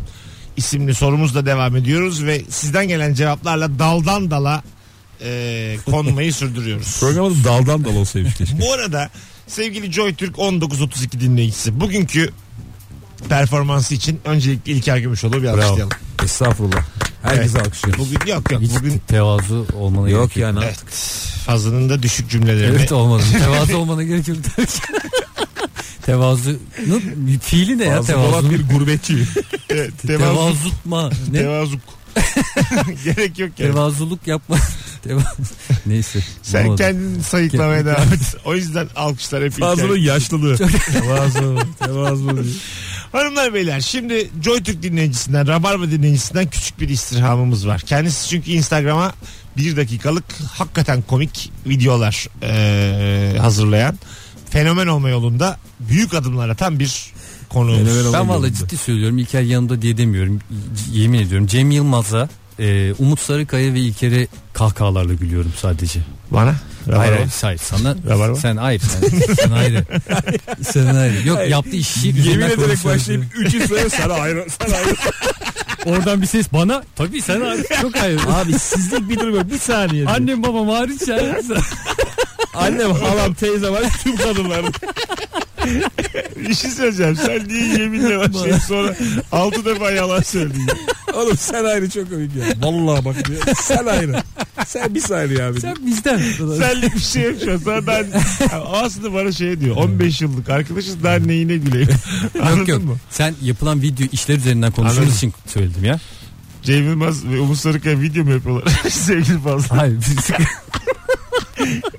[SPEAKER 2] isimli sorumuzla devam ediyoruz ve sizden gelen cevaplarla daldan dala e, konmayı sürdürüyoruz.
[SPEAKER 3] Programımız daldan dal olsaymış keşke.
[SPEAKER 2] Bu arada sevgili Joy Türk 1932 dinleyicisi bugünkü performansı için öncelikle İlker Gümüşoğlu'yu bir alkışlayalım.
[SPEAKER 3] Estağfurullah. Herkese
[SPEAKER 2] Evet.
[SPEAKER 3] alkışlıyoruz.
[SPEAKER 2] Bugün yok yok
[SPEAKER 4] Hiç
[SPEAKER 2] bugün
[SPEAKER 4] tevazu olmana
[SPEAKER 3] Yok
[SPEAKER 4] gerek yok.
[SPEAKER 3] ya ne
[SPEAKER 2] evet, Fazlı'nın da düşük cümleleri.
[SPEAKER 4] Evet olmadı. tevazu olmana gerek yok. tevazu. Fiili ne ya
[SPEAKER 3] Fazla
[SPEAKER 4] tevazu?
[SPEAKER 3] Polat bir gurbetçi.
[SPEAKER 2] Evet, tevazuk.
[SPEAKER 4] Tevazutma. Ne?
[SPEAKER 2] Tevazuk. Gerek yok yani.
[SPEAKER 4] Tevazuluk yapma. Tevaz... Neyse.
[SPEAKER 2] Sen
[SPEAKER 4] bulamadım.
[SPEAKER 2] kendini sayıklamaya devam et. O yüzden alkışlar hep
[SPEAKER 3] Fazla'nın
[SPEAKER 2] İlker.
[SPEAKER 3] yaşlılığı. Tevazu. Tevazu. diyor.
[SPEAKER 2] Hanımlar beyler şimdi Joytürk dinleyicisinden Rabarba dinleyicisinden küçük bir istirhamımız var. Kendisi çünkü Instagram'a bir dakikalık hakikaten komik videolar eee, hazırlayan fenomen olma yolunda büyük adımlar atan bir konuğumuz.
[SPEAKER 3] Fenomen ol-
[SPEAKER 4] Ben
[SPEAKER 3] Yolunda.
[SPEAKER 4] valla ciddi söylüyorum İlker yanımda diye demiyorum. C- Yemin ediyorum Cem Yılmaz'a e, Umut Sarıkaya ve İlker'e kahkahalarla gülüyorum sadece.
[SPEAKER 2] Bana?
[SPEAKER 4] Hayır
[SPEAKER 2] Rabarba.
[SPEAKER 4] hayır, hayır sana
[SPEAKER 2] Rabarba.
[SPEAKER 4] sen hayır sen, sen ayrı. sen ayrı. Yok
[SPEAKER 3] Hayır.
[SPEAKER 4] yaptığı işi
[SPEAKER 3] Yemin
[SPEAKER 4] üzerinden
[SPEAKER 3] ederek
[SPEAKER 4] konuşuyoruz.
[SPEAKER 3] başlayıp 3 üstüne sana ayrı. Sana ayrı.
[SPEAKER 4] Oradan bir ses bana tabii sen ayrı. Çok ayrı.
[SPEAKER 3] Abi sizlik bir durum yok. Bir saniye. Anne,
[SPEAKER 4] Annem babam hariç ya.
[SPEAKER 3] annem, halam, teyze var. Tüm kadınlar.
[SPEAKER 2] Bir şey söyleyeceğim. Sen niye yeminle başlayıp sonra altı defa yalan söyledin?
[SPEAKER 3] Oğlum sen ayrı çok komik ya. Vallahi bak diyor. Sen ayrı. Sen bir saniye abi.
[SPEAKER 4] sen bizden.
[SPEAKER 2] Senlik bir şey yok şu an. Sana ben, Yani aslında bana şey diyor. 15 yıllık arkadaşız daha neyine güleyim. Anladın
[SPEAKER 4] Yok yok.
[SPEAKER 2] mı?
[SPEAKER 4] Sen yapılan video işler üzerinden
[SPEAKER 2] Anladım.
[SPEAKER 4] konuştuğumuz için söyledim ya.
[SPEAKER 2] Cem Yılmaz ve Umut Sarıkaya video mu yapıyorlar? Sevgili Fazla.
[SPEAKER 4] Hayır.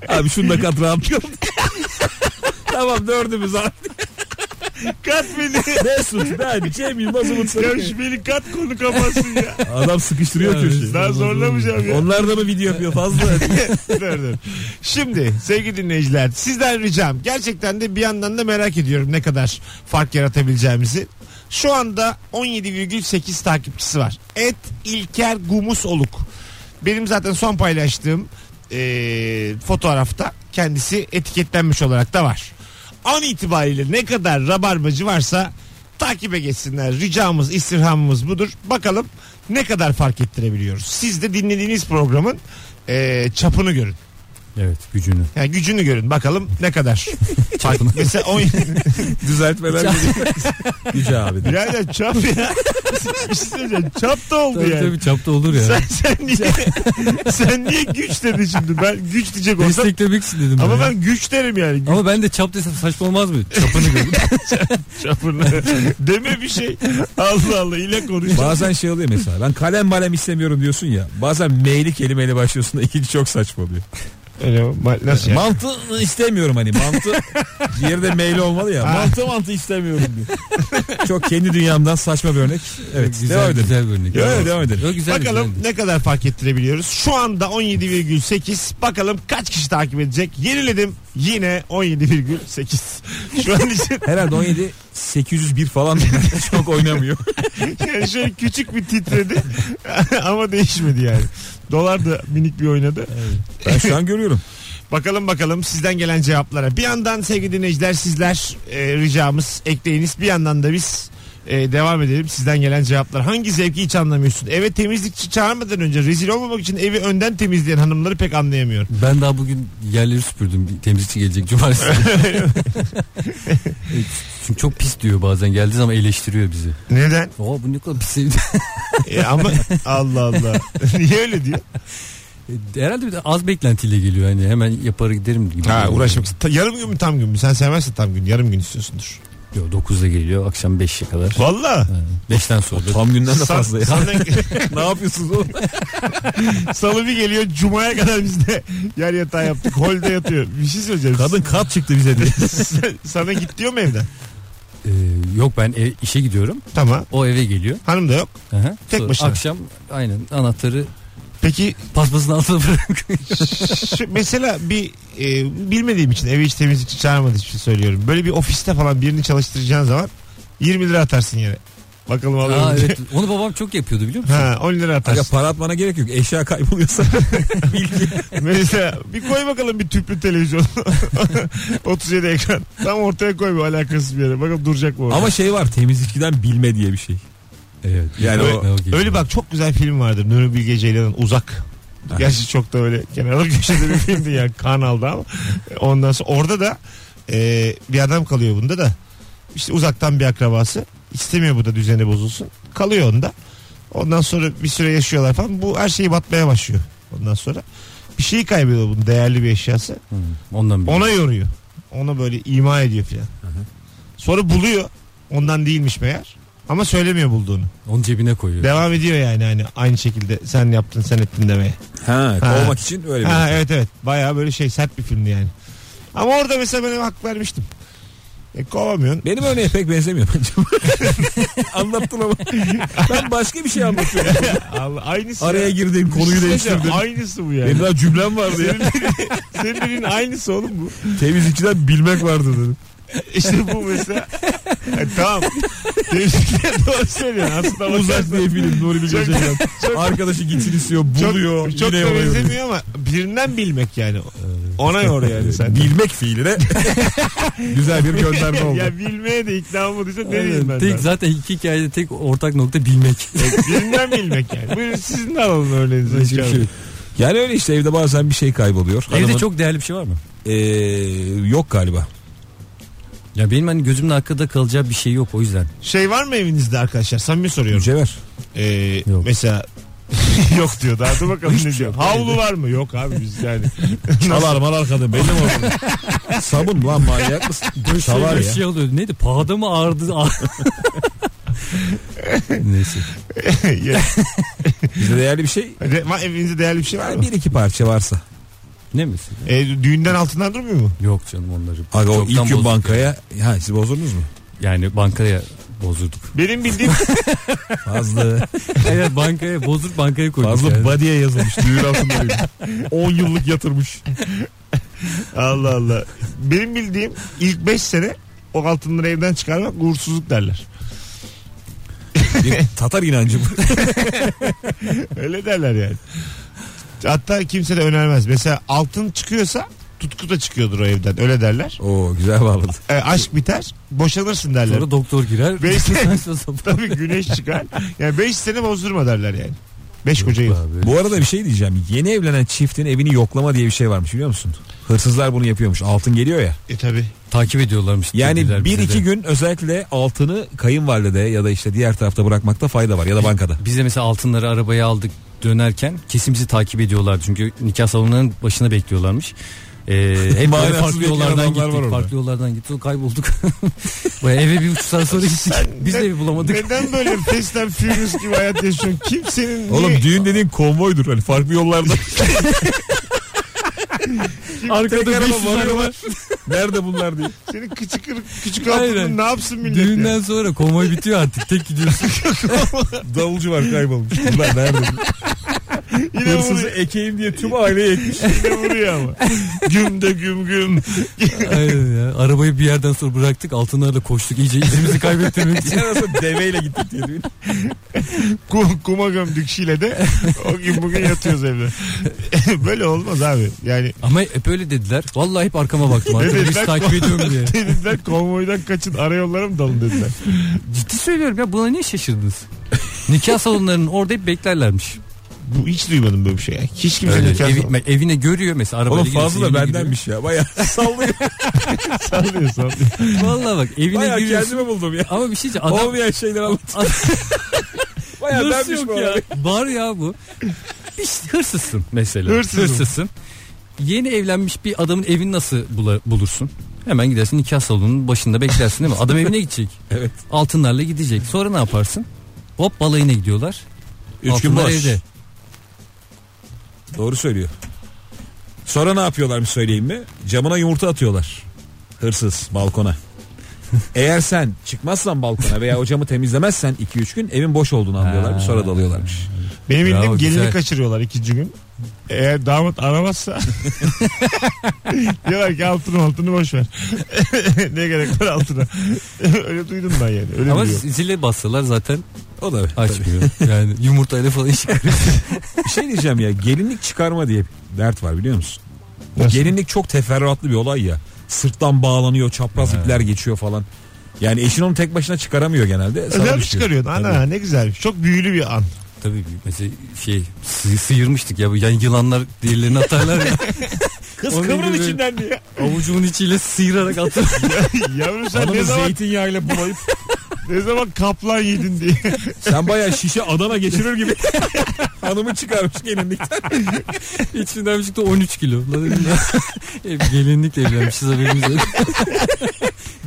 [SPEAKER 3] Abi şunu da kat rahat. tamam dördümüz abi.
[SPEAKER 2] Kat beni.
[SPEAKER 3] Mesut ben Cem Yılmaz Umut
[SPEAKER 2] Ya
[SPEAKER 3] Sarıkaya.
[SPEAKER 2] şu beni kat konu kapatsın ya.
[SPEAKER 3] Adam sıkıştırıyor
[SPEAKER 4] Evet.
[SPEAKER 3] köşeyi.
[SPEAKER 2] Daha zorlamayacağım ya.
[SPEAKER 3] Onlar da mı video yapıyor fazla?
[SPEAKER 2] Dur, dur. Şimdi sevgili dinleyiciler sizden ricam gerçekten de bir yandan da merak ediyorum ne kadar fark yaratabileceğimizi. Şu anda 17,8 takipçisi var. Et İlker Gumus Oluk. Benim zaten son paylaştığım eee, fotoğrafta kendisi etiketlenmiş olarak da var. An itibariyle ne kadar rabarbacı varsa takibe geçsinler. Ricamız, istirhamımız budur. Bakalım ne kadar fark ettirebiliyoruz. Siz de dinlediğiniz programın eee, çapını görün.
[SPEAKER 4] evet gücünü.
[SPEAKER 2] Yani gücünü görün. Bakalım ne kadar.
[SPEAKER 4] Çapını.
[SPEAKER 2] Mesela 10
[SPEAKER 3] Düzeltmeler geliyor. Güce abi. de.
[SPEAKER 2] Birader çap ya. Bir şey söyleyeceğim. Çap da oldu
[SPEAKER 4] Tabii
[SPEAKER 2] yani.
[SPEAKER 4] tabii çapta olur ya.
[SPEAKER 2] Sen, sen niye sen niye güç dedin şimdi? Ben güç diyecek olsam
[SPEAKER 4] Desteklemek için dedim.
[SPEAKER 2] ama
[SPEAKER 4] ya.
[SPEAKER 2] ben güç derim yani. Güç
[SPEAKER 4] ama ben de çap desem saçma olmaz mı? Çapını gördüm.
[SPEAKER 2] çapını. Deme bir şey. Allah Allah ile konuş.
[SPEAKER 3] Bazen şey oluyor mesela ben kalem malem istemiyorum diyorsun ya bazen meyli kelimeyle başlıyorsun da ikinci çok saçma oluyor.
[SPEAKER 2] Öyle ma- nasıl yani?
[SPEAKER 3] Mantı istemiyorum hani mantı bir yerde meyli olmalı ya
[SPEAKER 2] Ha.
[SPEAKER 3] mantı mantı istemiyorum diyor. çok kendi dünyamdan saçma bir örnek. Evet devam edelim.
[SPEAKER 4] güzel bir örnek.
[SPEAKER 3] Yok, yok, devam edelim.
[SPEAKER 4] Yok, güzel,
[SPEAKER 2] Bakalım
[SPEAKER 4] güzeldi.
[SPEAKER 2] ne kadar fark ettirebiliyoruz. Şu anda 17,8. Bakalım kaç kişi takip edecek. Yeniledim yine 17,8. Şu an için
[SPEAKER 3] Herhalde 17 801 falan çok oynamıyor.
[SPEAKER 2] Yani şöyle küçük bir titredi ama değişmedi yani. Dolar da minik bir oynadı.
[SPEAKER 3] Ben şu an görüyorum.
[SPEAKER 2] Bakalım bakalım sizden gelen cevaplara. Bir yandan sevgili dinleyiciler sizler e, ricamız ekleyiniz. Bir yandan da biz e, devam edelim sizden gelen cevaplar. Hangi zevki hiç anlamıyorsun? Eve temizlikçi çağırmadan önce rezil olmamak için evi önden temizleyen hanımları pek anlayamıyorum.
[SPEAKER 4] Ben daha bugün yerleri süpürdüm. Bir temizlikçi gelecek cumartesi. Evet, Çünkü çok pis diyor bazen geldiği zaman eleştiriyor bizi.
[SPEAKER 2] Neden?
[SPEAKER 4] Oo bu ne kadar pis. ev."
[SPEAKER 2] E, ama Allah Allah. Niye öyle diyor?
[SPEAKER 4] Herhalde bir de az beklentiyle geliyor hani hemen yapar giderim gibi.
[SPEAKER 2] Ha uğraşmak. Ta- yarım gün mü tam gün mü? Sen sevmezsen tam gün. Yarım gün istiyorsundur.
[SPEAKER 4] Yok 9'da geliyor akşam 5'e kadar.
[SPEAKER 2] Valla.
[SPEAKER 4] 5'ten sonra.
[SPEAKER 3] Tam günden de
[SPEAKER 2] Sa-
[SPEAKER 3] fazla ya.
[SPEAKER 2] sana-
[SPEAKER 3] ne yapıyorsunuz oğlum?
[SPEAKER 2] Salı bir geliyor cumaya kadar biz de yer yatağı yaptık. Holde yatıyor. Bir şey söyleyeceğim.
[SPEAKER 3] Kadın kat çıktı bize diye.
[SPEAKER 2] Sen- sana git diyor mu evden?
[SPEAKER 4] Ee, yok ben e- işe gidiyorum.
[SPEAKER 2] Tamam.
[SPEAKER 4] O eve geliyor.
[SPEAKER 2] Hanım da yok.
[SPEAKER 4] Aha.
[SPEAKER 2] Tek
[SPEAKER 4] Sonra
[SPEAKER 2] başına.
[SPEAKER 4] Akşam aynen anahtarı
[SPEAKER 2] Peki
[SPEAKER 4] paspasın altına bırakıyor.
[SPEAKER 2] şu, mesela bir e, bilmediğim için eve hiç temizlikçi çağırmadığı için söylüyorum. Böyle bir ofiste falan birini çalıştıracağın zaman 20 lira atarsın yere. Bakalım alıyor
[SPEAKER 4] Aa,
[SPEAKER 2] mu diye.
[SPEAKER 4] evet. Onu babam çok yapıyordu biliyor musun?
[SPEAKER 2] Ha 10 lira
[SPEAKER 3] Ya
[SPEAKER 2] atarsın.
[SPEAKER 3] para atmana gerek yok. Eşya kayboluyorsa.
[SPEAKER 2] Mesela bir koy bakalım bir tüplü televizyon. 37 ekran. Tam ortaya koy bir alakasız bir yere. Bakalım duracak mı orada.
[SPEAKER 3] Ama şey var temizlikçiden bilme diye bir şey.
[SPEAKER 4] Evet.
[SPEAKER 3] Yani
[SPEAKER 4] Evet,
[SPEAKER 3] o-
[SPEAKER 4] ne geliyor.
[SPEAKER 2] Öyle bak çok güzel film vardır. Nuri Bilge Ceylan'ın Uzak. Gerçi çok da öyle kenarda köşede bir filmdi ya kanalda ama. Ondan sonra orada da e, bir adam kalıyor bunda da. İşte uzaktan bir akrabası. İstemiyor bu da düzeni bozulsun. Kalıyor onda. Ondan sonra bir süre yaşıyorlar falan. Bu her şeyi batmaya başlıyor. Ondan sonra bir şeyi kaybediyor bunun değerli bir eşyası.
[SPEAKER 4] Hı, Ondan bir.
[SPEAKER 2] Ona yoruyor. Ona böyle ima ediyor filan. Sonra buluyor. Ondan değilmiş meğer. Ama söylemiyor bulduğunu.
[SPEAKER 4] Onun cebine koyuyor.
[SPEAKER 2] Devam ediyor yani hani aynı şekilde sen yaptın sen ettin demeye.
[SPEAKER 3] Ha,
[SPEAKER 2] Ha.
[SPEAKER 3] kovmak için öyle bir.
[SPEAKER 2] Ha evet evet. Bayağı böyle şey sert bir filmdi yani. Ama orada mesela ben hak vermiştim. E, kovamıyorsun.
[SPEAKER 3] Benim örneğe pek benzemiyor bence. Anlattın ama. Ben başka bir şey anlatıyorum. Şey
[SPEAKER 2] Allah, aynısı.
[SPEAKER 3] Araya
[SPEAKER 2] ya. şey
[SPEAKER 3] girdiğim konuyu değiştirdim.
[SPEAKER 2] Aynısı bu yani.
[SPEAKER 3] Benim daha cümlem vardı ya.
[SPEAKER 2] Senin dediğin aynısı oğlum bu.
[SPEAKER 3] Temizlikçiden bilmek vardı dedim.
[SPEAKER 2] İşte bu mesela. E, tamam. Temizlikle doğru söylüyorsun. Aslında
[SPEAKER 3] Uzak
[SPEAKER 2] bakarsan
[SPEAKER 3] diye film Nuri Bilge
[SPEAKER 2] Çok-
[SPEAKER 3] Ceylan. Arkadaşı gitsin istiyor, buluyor.
[SPEAKER 2] çok, çok
[SPEAKER 3] yine
[SPEAKER 2] da
[SPEAKER 3] yola yoruyor.
[SPEAKER 2] benzemiyor ama birinden bilmek yani. Ona yoruyor yani sen.
[SPEAKER 3] Bilmek fiiline güzel bir gönderme oldu.
[SPEAKER 2] ya bilmeye de ikna olmadıysa ne
[SPEAKER 4] Aynen.
[SPEAKER 2] diyeyim ben
[SPEAKER 4] tek
[SPEAKER 2] daha?
[SPEAKER 4] zaten iki hikayede tek ortak nokta bilmek.
[SPEAKER 2] Birinden bilmek yani. Buyurun sizin de alalım örneğinizi.
[SPEAKER 4] Başka bir şey yok.
[SPEAKER 3] Yani öyle işte evde bazen bir şey kayboluyor.
[SPEAKER 4] Evde
[SPEAKER 3] Hanımın-
[SPEAKER 4] çok değerli bir şey var mı?
[SPEAKER 3] Ee, yok galiba.
[SPEAKER 4] Ya benim hani gözümün arkada kalacağı bir şey yok o yüzden.
[SPEAKER 2] Şey var mı evinizde arkadaşlar? Samimi soruyorum.
[SPEAKER 3] Mücevher.
[SPEAKER 2] Ee,
[SPEAKER 4] Yok. şey
[SPEAKER 2] mesela yok diyor. Daha dur bakalım ne diyor. Havlu var mı? Yok abi biz yani.
[SPEAKER 3] Çalar malar kadın belli mi oldu? Sabun lan manyak mısın? Çalar
[SPEAKER 4] bir
[SPEAKER 3] ya.
[SPEAKER 4] şey oluyordu. Neydi? Pahada mı ağırdı? Neyse.
[SPEAKER 2] Ya,
[SPEAKER 3] Bizde değerli bir şey.
[SPEAKER 2] de- ma- evinizde değerli bir şey var mı?
[SPEAKER 3] Bir iki parça varsa.
[SPEAKER 4] Ne mesela?
[SPEAKER 2] Ee, düğünden altından durmuyor mu?
[SPEAKER 4] Yok canım onları.
[SPEAKER 3] Aga o
[SPEAKER 4] çoktan
[SPEAKER 3] ilk gün
[SPEAKER 4] bozduk
[SPEAKER 3] bankaya. Ha siz bozdunuz mu?
[SPEAKER 4] Yani bankaya bozduk.
[SPEAKER 2] Benim bildiğim
[SPEAKER 3] Fazla.
[SPEAKER 4] evet bankaya bozdur bankaya koyduk.
[SPEAKER 3] fazla
[SPEAKER 4] yani.
[SPEAKER 3] body'ye yazılmış. Düğün altında değil. 10 yıllık yatırmış.
[SPEAKER 2] Allah Allah. Benim bildiğim ilk 5 sene o altınları evden çıkarmak uğursuzluk derler.
[SPEAKER 3] Bir Tatar inancı bu.
[SPEAKER 2] Öyle derler yani. Hatta kimse de önermez. Mesela altın çıkıyorsa tutku da çıkıyordur o evden. Öyle derler.
[SPEAKER 3] Oo güzel bağladı.
[SPEAKER 2] Ee, aşk biter, boşanırsın derler.
[SPEAKER 4] Sonra doktor girer.
[SPEAKER 2] Beş-
[SPEAKER 4] Saçma sapan.
[SPEAKER 2] Tabii güneş çıkar. Yani 5 sene bozdurma derler yani. 5 koca yıl.
[SPEAKER 4] Abi.
[SPEAKER 3] Bu arada bir şey diyeceğim. Yeni evlenen çiftin evini yoklama diye bir şey varmış biliyor musun? Hırsızlar bunu yapıyormuş. Altın geliyor ya.
[SPEAKER 2] E tabi.
[SPEAKER 4] Takip ediyorlarmış. dediler
[SPEAKER 3] Yani bir şey
[SPEAKER 4] bize de.
[SPEAKER 3] iki gün özellikle altını kayınvalide ya da işte diğer tarafta bırakmakta fayda var ya da bankada.
[SPEAKER 4] Biz de mesela altınları arabaya aldık dönerken kesin bizi takip ediyorlardı. Çünkü nikah salonunun başına bekliyorlarmış. Ee, hep böyle
[SPEAKER 3] Manasız
[SPEAKER 4] farklı
[SPEAKER 3] bekleyen
[SPEAKER 4] yollardan
[SPEAKER 3] adamlar var
[SPEAKER 4] gittik.
[SPEAKER 3] orada.
[SPEAKER 4] Farklı yollardan gittik. Kaybolduk. Baya eve bir buçuk saat sonra gittik. Biz de evi bulamadık.
[SPEAKER 2] Neden böyle Fast and Furious gibi hayat yaşıyorsun? Kimsenin niye,
[SPEAKER 3] Oğlum düğün dediğin konvoydur hani farklı yollarda.
[SPEAKER 4] Arkada 500 araba.
[SPEAKER 3] Nerede bunlar diye.
[SPEAKER 2] senin küçük küçük
[SPEAKER 4] Aynen.
[SPEAKER 2] altının ne yapsın millet ya?
[SPEAKER 4] Düğünden sonra konvoy bitiyor artık. Tek gidiyorsun.
[SPEAKER 3] Davulcu var kaybolmuş. Bunlar nerede?
[SPEAKER 2] Yine
[SPEAKER 3] Hırsızı
[SPEAKER 2] vuruyor.
[SPEAKER 3] ekeyim diye tüm aileyi ekmiş.
[SPEAKER 2] Yine vuruyor ama. Güm de güm güm.
[SPEAKER 4] Aynen ya. Arabayı bir yerden sonra bıraktık altınlarla koştuk iyice izimizi kaybettirmek için.
[SPEAKER 3] Arasında deveyle gittik diye. değil mi?
[SPEAKER 2] Kum, kuma gömdük Şile'de. O gün bugün yatıyoruz evde. Böyle olmaz abi. Yani
[SPEAKER 4] Ama hep öyle dediler. Vallahi hep arkama baktım.
[SPEAKER 2] Ne
[SPEAKER 4] Arkada biz
[SPEAKER 2] dediler?
[SPEAKER 4] takip ediyorum diye.
[SPEAKER 2] dediler konvoydan kaçın arayollara mı dalın dediler.
[SPEAKER 4] Ciddi söylüyorum ya buna niye şaşırdınız? Nikah salonlarının orada hep beklerlermiş.
[SPEAKER 2] Bu hiç duymadım böyle bir şey. ya. Hiç kimse
[SPEAKER 4] Öyle,
[SPEAKER 2] nikah
[SPEAKER 4] evi-
[SPEAKER 2] salonu-
[SPEAKER 4] evine görüyor mesela arabayla
[SPEAKER 3] Oğlum
[SPEAKER 4] gelirse
[SPEAKER 3] fazla
[SPEAKER 4] evine
[SPEAKER 3] bendenmiş ya. Baya sallıyor.
[SPEAKER 2] sallıyor sallıyor.
[SPEAKER 4] giriyor. Vallahi bak evine
[SPEAKER 3] Baya
[SPEAKER 4] giriyorsun.
[SPEAKER 3] kendimi buldum ya.
[SPEAKER 4] Ama bir şey diyeceğim. Adam
[SPEAKER 3] Olmayan şeyler anlat. Baya
[SPEAKER 4] Hırs
[SPEAKER 3] benmiş
[SPEAKER 4] yok
[SPEAKER 3] bu
[SPEAKER 4] ya.
[SPEAKER 3] ya.
[SPEAKER 4] Var ya bu. Bir şey- hırsızsın mesela.
[SPEAKER 2] Hırsızım.
[SPEAKER 4] Hırsızsın. Yeni evlenmiş bir adamın evini nasıl bula- bulursun? Hemen gidersin nikah salonunun başında beklersin değil mi? Adam evine gidecek.
[SPEAKER 3] Evet.
[SPEAKER 4] Altınlarla gidecek. Sonra ne yaparsın? Hop balayına gidiyorlar.
[SPEAKER 3] Üç gün
[SPEAKER 4] Altınlar
[SPEAKER 3] boş.
[SPEAKER 4] evde.
[SPEAKER 3] Doğru söylüyor. Sonra ne yapıyorlarmış söyleyeyim mi? Camına yumurta atıyorlar. Hırsız balkona. Eğer sen çıkmazsan balkona veya o camı temizlemezsen 2-3 gün evin boş olduğunu anlıyorlarmış. Sonra dalıyorlarmış.
[SPEAKER 2] Benim
[SPEAKER 4] Bravo,
[SPEAKER 2] bildiğim gelini
[SPEAKER 4] güzel.
[SPEAKER 2] kaçırıyorlar ikinci gün. Eğer damat aramazsa diyorlar ki altını altını boş ver. ne gerek var altına. Öyle duydum ben yani. Öyle
[SPEAKER 4] Ama
[SPEAKER 2] biliyorum.
[SPEAKER 4] zile bassalar zaten
[SPEAKER 3] O da
[SPEAKER 4] açmıyor. yani yumurtayla falan iş
[SPEAKER 3] Bir şey diyeceğim ya gelinlik çıkarma diye bir dert var biliyor musun? O
[SPEAKER 2] Nasıl?
[SPEAKER 3] gelinlik çok teferruatlı bir olay ya. Sırttan bağlanıyor çapraz ipler geçiyor falan. Yani eşin onu tek başına çıkaramıyor genelde.
[SPEAKER 2] Özel
[SPEAKER 3] Sana
[SPEAKER 2] mi
[SPEAKER 4] şey-
[SPEAKER 3] düşüyor.
[SPEAKER 2] E, çıkarıyorsun? Ana
[SPEAKER 3] Tabii.
[SPEAKER 2] ne güzel. Çok büyülü bir an.
[SPEAKER 4] Tabii mesela şey sı- sıyırmıştık ya bu yan yılanlar diğerlerini atarlar ya.
[SPEAKER 2] Kız
[SPEAKER 4] Onun
[SPEAKER 2] kıvrım
[SPEAKER 4] gibi-
[SPEAKER 2] içinden diye.
[SPEAKER 4] Avucumun içiyle sıyırarak atar.
[SPEAKER 2] Yavrum sen
[SPEAKER 3] Hanımı
[SPEAKER 2] ne zaman,
[SPEAKER 3] zeytinyağıyla bulayıp
[SPEAKER 2] ne zaman kaplan yedin diye.
[SPEAKER 3] sen bayağı şişe Adana geçirir gibi hanımı çıkarmış gelinlikten.
[SPEAKER 4] İçinden bir çıktı 13 kilo. Lan dedim ya. Hep gelinlikle evlenmişiz haberimiz yok.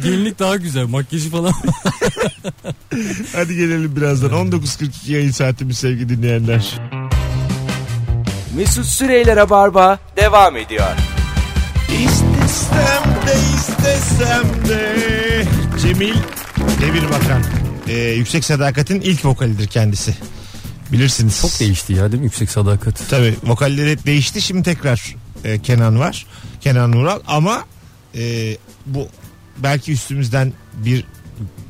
[SPEAKER 4] Gelinlik daha güzel makyajı falan.
[SPEAKER 2] Hadi gelelim birazdan. 19.42 yayın saatimiz sevgili dinleyenler.
[SPEAKER 1] Mesut Süreyler'e barba devam ediyor.
[SPEAKER 2] İstesem de istesem de Cemil Demir Bakan Ee, Yüksek Sadakat'in ilk vokalidir kendisi Bilirsiniz
[SPEAKER 4] Çok değişti ya değil mi yüksek sadakat?
[SPEAKER 2] Tabii vokalleri hep değişti şimdi tekrar e, Kenan var Kenan Nural ama e, bu belki üstümüzden bir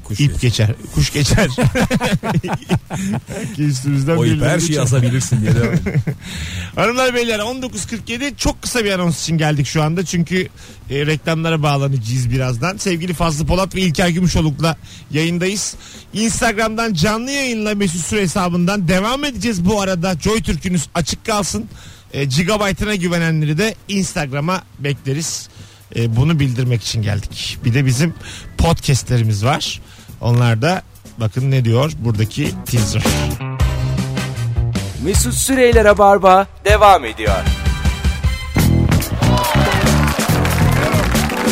[SPEAKER 3] Kuş
[SPEAKER 2] ip geçer kuş geçer belki üstümüzden
[SPEAKER 3] O ip
[SPEAKER 2] birileri
[SPEAKER 3] her şeyi
[SPEAKER 2] geçer.
[SPEAKER 3] asabilirsin diye devam ediyor.
[SPEAKER 2] Hanımlar beyler 19.47 çok kısa bir anons için geldik şu anda. Çünkü e, reklamlara bağlanacağız birazdan. Sevgili Fazlı Polat ve İlker Gümüşoluk'la yayındayız. Instagram'dan canlı yayınla Mesut Süre hesabından devam edeceğiz bu arada. Joy Türk'ünüz açık kalsın. E, gigabyte'ına güvenenleri de Instagram'a bekleriz. E, bunu bildirmek için geldik. Bir de bizim podcastlerimiz var. Onlar da bakın ne diyor buradaki teaser.
[SPEAKER 1] Mesut Süreyler'e barba devam ediyor.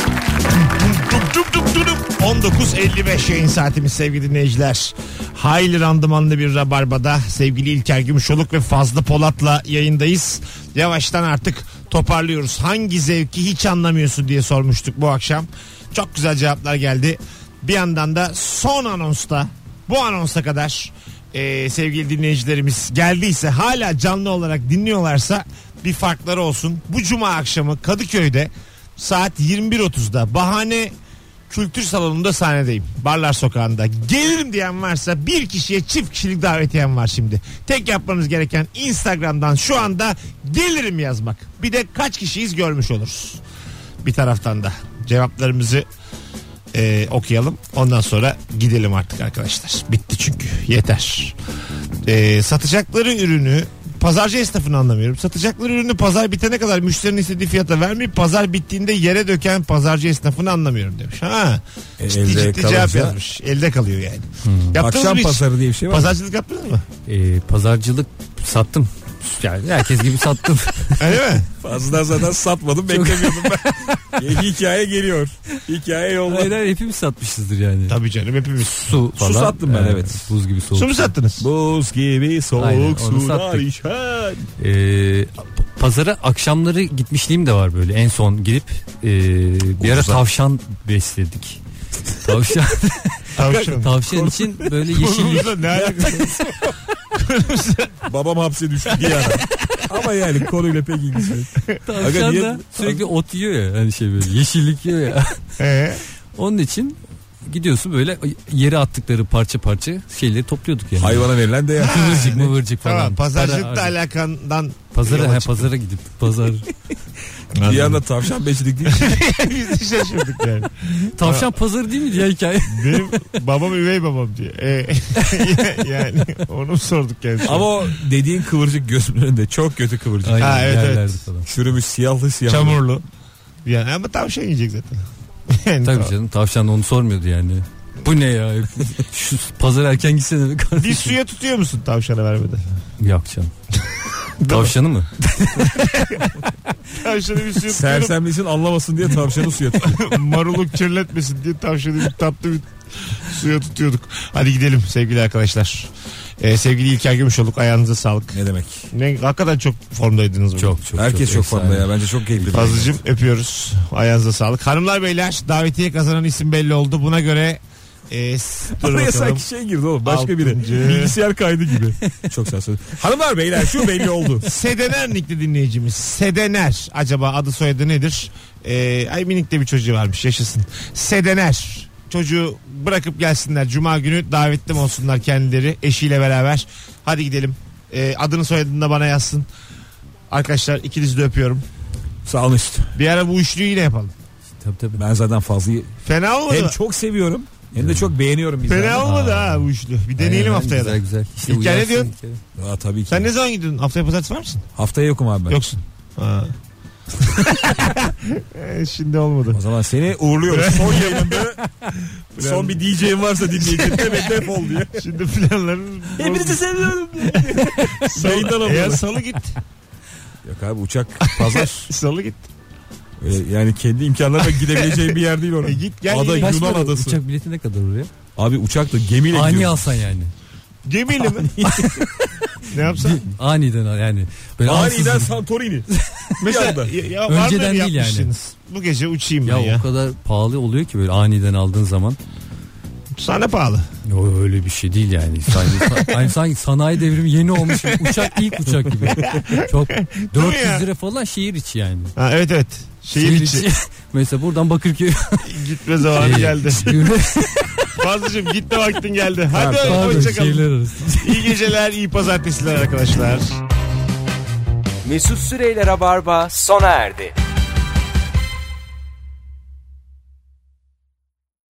[SPEAKER 2] Dup dup dup dup dup. 19.55 yayın saatimiz sevgili dinleyiciler. Hayli randımanlı bir rabarbada sevgili İlker Gümüşoluk ve Fazlı Polat'la yayındayız. Yavaştan artık toparlıyoruz. Hangi zevki hiç anlamıyorsun diye sormuştuk bu akşam. Çok güzel cevaplar geldi. Bir yandan da son anonsta bu anonsa kadar e, sevgili dinleyicilerimiz geldiyse hala canlı olarak dinliyorlarsa bir farkları olsun. Bu cuma akşamı Kadıköy'de saat 21.30'da bahane kültür salonunda sahnedeyim. Barlar sokağında. Gelirim diyen varsa bir kişiye çift kişilik davetiyem var şimdi. Tek yapmanız gereken Instagram'dan şu anda gelirim yazmak. Bir de kaç kişiyiz görmüş oluruz. Bir taraftan da cevaplarımızı e, okuyalım. Ondan sonra gidelim artık arkadaşlar. Bitti çünkü. Yeter. E, satacakları ürünü pazarcı esnafını anlamıyorum. Satacakları ürünü pazar bitene kadar müşterinin istediği fiyata vermeyip pazar bittiğinde yere döken pazarcı esnafını anlamıyorum demiş. Ha.
[SPEAKER 3] E,
[SPEAKER 2] Ciddi
[SPEAKER 3] elde
[SPEAKER 2] ciddi cevap
[SPEAKER 3] kalınca- Hmm.
[SPEAKER 2] yazmış. Elde kalıyor yani. Yaptınız mı
[SPEAKER 3] Akşam
[SPEAKER 2] hiç?
[SPEAKER 3] pazarı diye bir şey var.
[SPEAKER 2] Pazarcılık yaptınız mı?
[SPEAKER 4] Ee, pazarcılık sattım. Yani herkes gibi sattım.
[SPEAKER 2] Öyle mi?
[SPEAKER 3] Fazla zaten satmadım beklemiyordum ben. Hikaye geliyor. Hikaye yolda.
[SPEAKER 4] Hayır hayır, hepimiz satmışızdır yani.
[SPEAKER 2] Tabii canım hepimiz.
[SPEAKER 4] Su falan.
[SPEAKER 3] sattım ben,
[SPEAKER 4] Ee,
[SPEAKER 3] evet.
[SPEAKER 4] Buz gibi soğuk.
[SPEAKER 2] Su mu sattınız?
[SPEAKER 3] Buz gibi
[SPEAKER 4] Aynen, onu
[SPEAKER 3] soğuk sular
[SPEAKER 4] sattık.
[SPEAKER 3] içer.
[SPEAKER 4] Ee, pazara akşamları gitmişliğim de var böyle en son gidip ee, bir ara
[SPEAKER 3] Ucuza.
[SPEAKER 4] tavşan besledik. Tavşan
[SPEAKER 2] Tavşan.
[SPEAKER 4] tavşan için böyle yeşil
[SPEAKER 2] Konumuzla ne alakası? Hatırlıyor musun?
[SPEAKER 3] Babam hapse düştü diye ara. Ama yani konuyla pek ilgisi yok. Aga
[SPEAKER 4] Tavşan
[SPEAKER 3] niye-
[SPEAKER 4] da sürekli ot yiyor ya. Hani şey böyle yeşillik yiyor ya.
[SPEAKER 2] Ee,
[SPEAKER 4] Onun için gidiyorsun böyle yere attıkları parça parça şeyleri topluyorduk yani.
[SPEAKER 3] Hayvana verilen değer.
[SPEAKER 4] Kıvırcık mıvırcık falan.
[SPEAKER 2] tamam pazarcılıkla
[SPEAKER 4] Para-
[SPEAKER 2] alakandan
[SPEAKER 4] Pazara,
[SPEAKER 2] yola
[SPEAKER 4] he,
[SPEAKER 2] çıktın.
[SPEAKER 4] pazara gidip pazar.
[SPEAKER 3] Bir yanda tavşan besledik değil.
[SPEAKER 2] Biz de şaşırdık yani.
[SPEAKER 4] Tavşan pazarı değil miydi ya hikaye?
[SPEAKER 2] Benim babam üvey babam diye. Ee, yani onu mu sorduk kendisine.
[SPEAKER 3] Ama o dediğin kıvırcık gözümün önünde. Çok kötü kıvırcık.
[SPEAKER 4] Aynen,
[SPEAKER 2] evet,
[SPEAKER 4] yerlerde
[SPEAKER 2] evet.
[SPEAKER 4] Falan.
[SPEAKER 3] Çürümüş siyahlı siyahlı.
[SPEAKER 2] Çamurlu. Yani ama tavşan yiyecek zaten. Yani
[SPEAKER 4] Tabii
[SPEAKER 2] tamam.
[SPEAKER 4] canım tavşan da onu sormuyordu yani. Bu ne ya? Şu pazar erken gitsene be kardeşim.
[SPEAKER 2] Bir suya tutuyor musun tavşana vermeden?
[SPEAKER 4] Yok canım. Tavşanı mı?
[SPEAKER 2] Tavşanı bir suya tutuyorum.
[SPEAKER 3] Sersemlesin anlamasın diye tavşanı suya tutuyor.
[SPEAKER 2] Maruluk kirletmesin diye tavşanı bir tatlı bir suya tutuyorduk. Hadi gidelim sevgili arkadaşlar. Ee, sevgili İlker Gümüşoluk ayağınıza sağlık.
[SPEAKER 3] ne demek?
[SPEAKER 2] Ne, hakikaten çok formdaydınız bugün.
[SPEAKER 4] Çok çok.
[SPEAKER 3] Herkes çok şey
[SPEAKER 4] efsane.
[SPEAKER 3] formda ya. Bence çok keyifli.
[SPEAKER 2] Fazlıcım öpüyoruz. Ayağınıza sağlık. Hanımlar beyler davetiye kazanan isim belli oldu. Buna göre e, s- dur
[SPEAKER 3] Buraya
[SPEAKER 2] bakalım.
[SPEAKER 3] sanki şey girdi oğlum. Başka
[SPEAKER 2] Altıncı.
[SPEAKER 3] biri. Bilgisayar kaydı gibi. Çok sağ olun. Hanımlar beyler şu belli oldu.
[SPEAKER 2] Sedener nikli dinleyicimiz. Sedener acaba adı soyadı nedir? E, ay minik de bir çocuğu varmış yaşasın. Sedener çocuğu bırakıp gelsinler. Cuma günü davetli mi olsunlar kendileri eşiyle beraber. Hadi gidelim. E, adını soyadını da bana yazsın. Arkadaşlar ikinizi de öpüyorum.
[SPEAKER 3] Sağ olun üstü.
[SPEAKER 2] Bir ara bu üçlüyü yine yapalım.
[SPEAKER 4] Tabii tabii.
[SPEAKER 3] Ben zaten Fazlı'yı
[SPEAKER 2] Fena olmadı.
[SPEAKER 3] hem
[SPEAKER 2] mı?
[SPEAKER 3] çok seviyorum hem de çok beğeniyorum bizi.
[SPEAKER 2] Fena olmadı ha bu üçlü. Bir deneyelim
[SPEAKER 4] Aynen,
[SPEAKER 2] haftaya da.
[SPEAKER 4] Güzel güzel. İşte
[SPEAKER 2] İlker ne
[SPEAKER 4] uyarsın
[SPEAKER 2] diyorsun?
[SPEAKER 4] İlker.
[SPEAKER 3] Aa, tabii ki.
[SPEAKER 2] Sen ne zaman gidiyorsun? Haftaya pazartesi var mısın?
[SPEAKER 3] Haftaya yokum abi ben.
[SPEAKER 2] Yoksun. Ha. Ee, Şimdi olmadı.
[SPEAKER 3] O zaman seni uğurluyoruz. son yayınında son bir DJ'in varsa dinleyecek. Demek defol diye.
[SPEAKER 2] Şimdi planların...
[SPEAKER 3] seviyorum.
[SPEAKER 2] Salı-
[SPEAKER 3] yayından olmadı.
[SPEAKER 2] Eğer salı git.
[SPEAKER 3] Yok abi uçak pazar.
[SPEAKER 2] Salı git.
[SPEAKER 3] Ee, yani kendi imkanlarla gidebileceğim bir yer değil orası.
[SPEAKER 2] E git gel.
[SPEAKER 3] Ada-
[SPEAKER 2] Ada...
[SPEAKER 4] Kaç
[SPEAKER 3] Yunan
[SPEAKER 4] para?
[SPEAKER 3] adası.
[SPEAKER 4] Uçak bileti ne kadar oraya?
[SPEAKER 3] Abi uçakla gemiyle
[SPEAKER 4] Ani
[SPEAKER 3] gidiyoruz.
[SPEAKER 4] alsan yani.
[SPEAKER 2] Gemiyle mi? ne yapsan?
[SPEAKER 4] Aniden al yani. Böyle
[SPEAKER 3] Aniden
[SPEAKER 4] ansızın.
[SPEAKER 3] Santorini.
[SPEAKER 2] Mesela
[SPEAKER 3] anda.
[SPEAKER 2] ya, ya var mı
[SPEAKER 4] Önceden değil yani.
[SPEAKER 2] yapmışsınız? Bu gece uçayım
[SPEAKER 4] Ya,
[SPEAKER 2] ben ya.
[SPEAKER 4] o kadar pahalı oluyor ki böyle aniden aldığın zaman.
[SPEAKER 2] Sana pahalı.
[SPEAKER 4] Yo, öyle bir şey değil yani. Sanki, yani sanki sanayi devrimi yeni olmuş. Uçak ilk uçak gibi. Çok 400
[SPEAKER 2] ya?
[SPEAKER 4] lira falan şehir içi yani.
[SPEAKER 2] Ha, evet evet. Şehir içi.
[SPEAKER 4] Mesela buradan Bakırköy
[SPEAKER 2] Gitme zamanı
[SPEAKER 4] Ee,
[SPEAKER 2] geldi.
[SPEAKER 4] Yürü-
[SPEAKER 2] Fazlıcığım gitme vaktin geldi. Hadi
[SPEAKER 4] Pardon,
[SPEAKER 2] hoşçakalın.
[SPEAKER 4] şehirler arası.
[SPEAKER 2] İyi geceler, iyi pazartesiler arkadaşlar.
[SPEAKER 1] Mesut Süreyler'e barba sona erdi.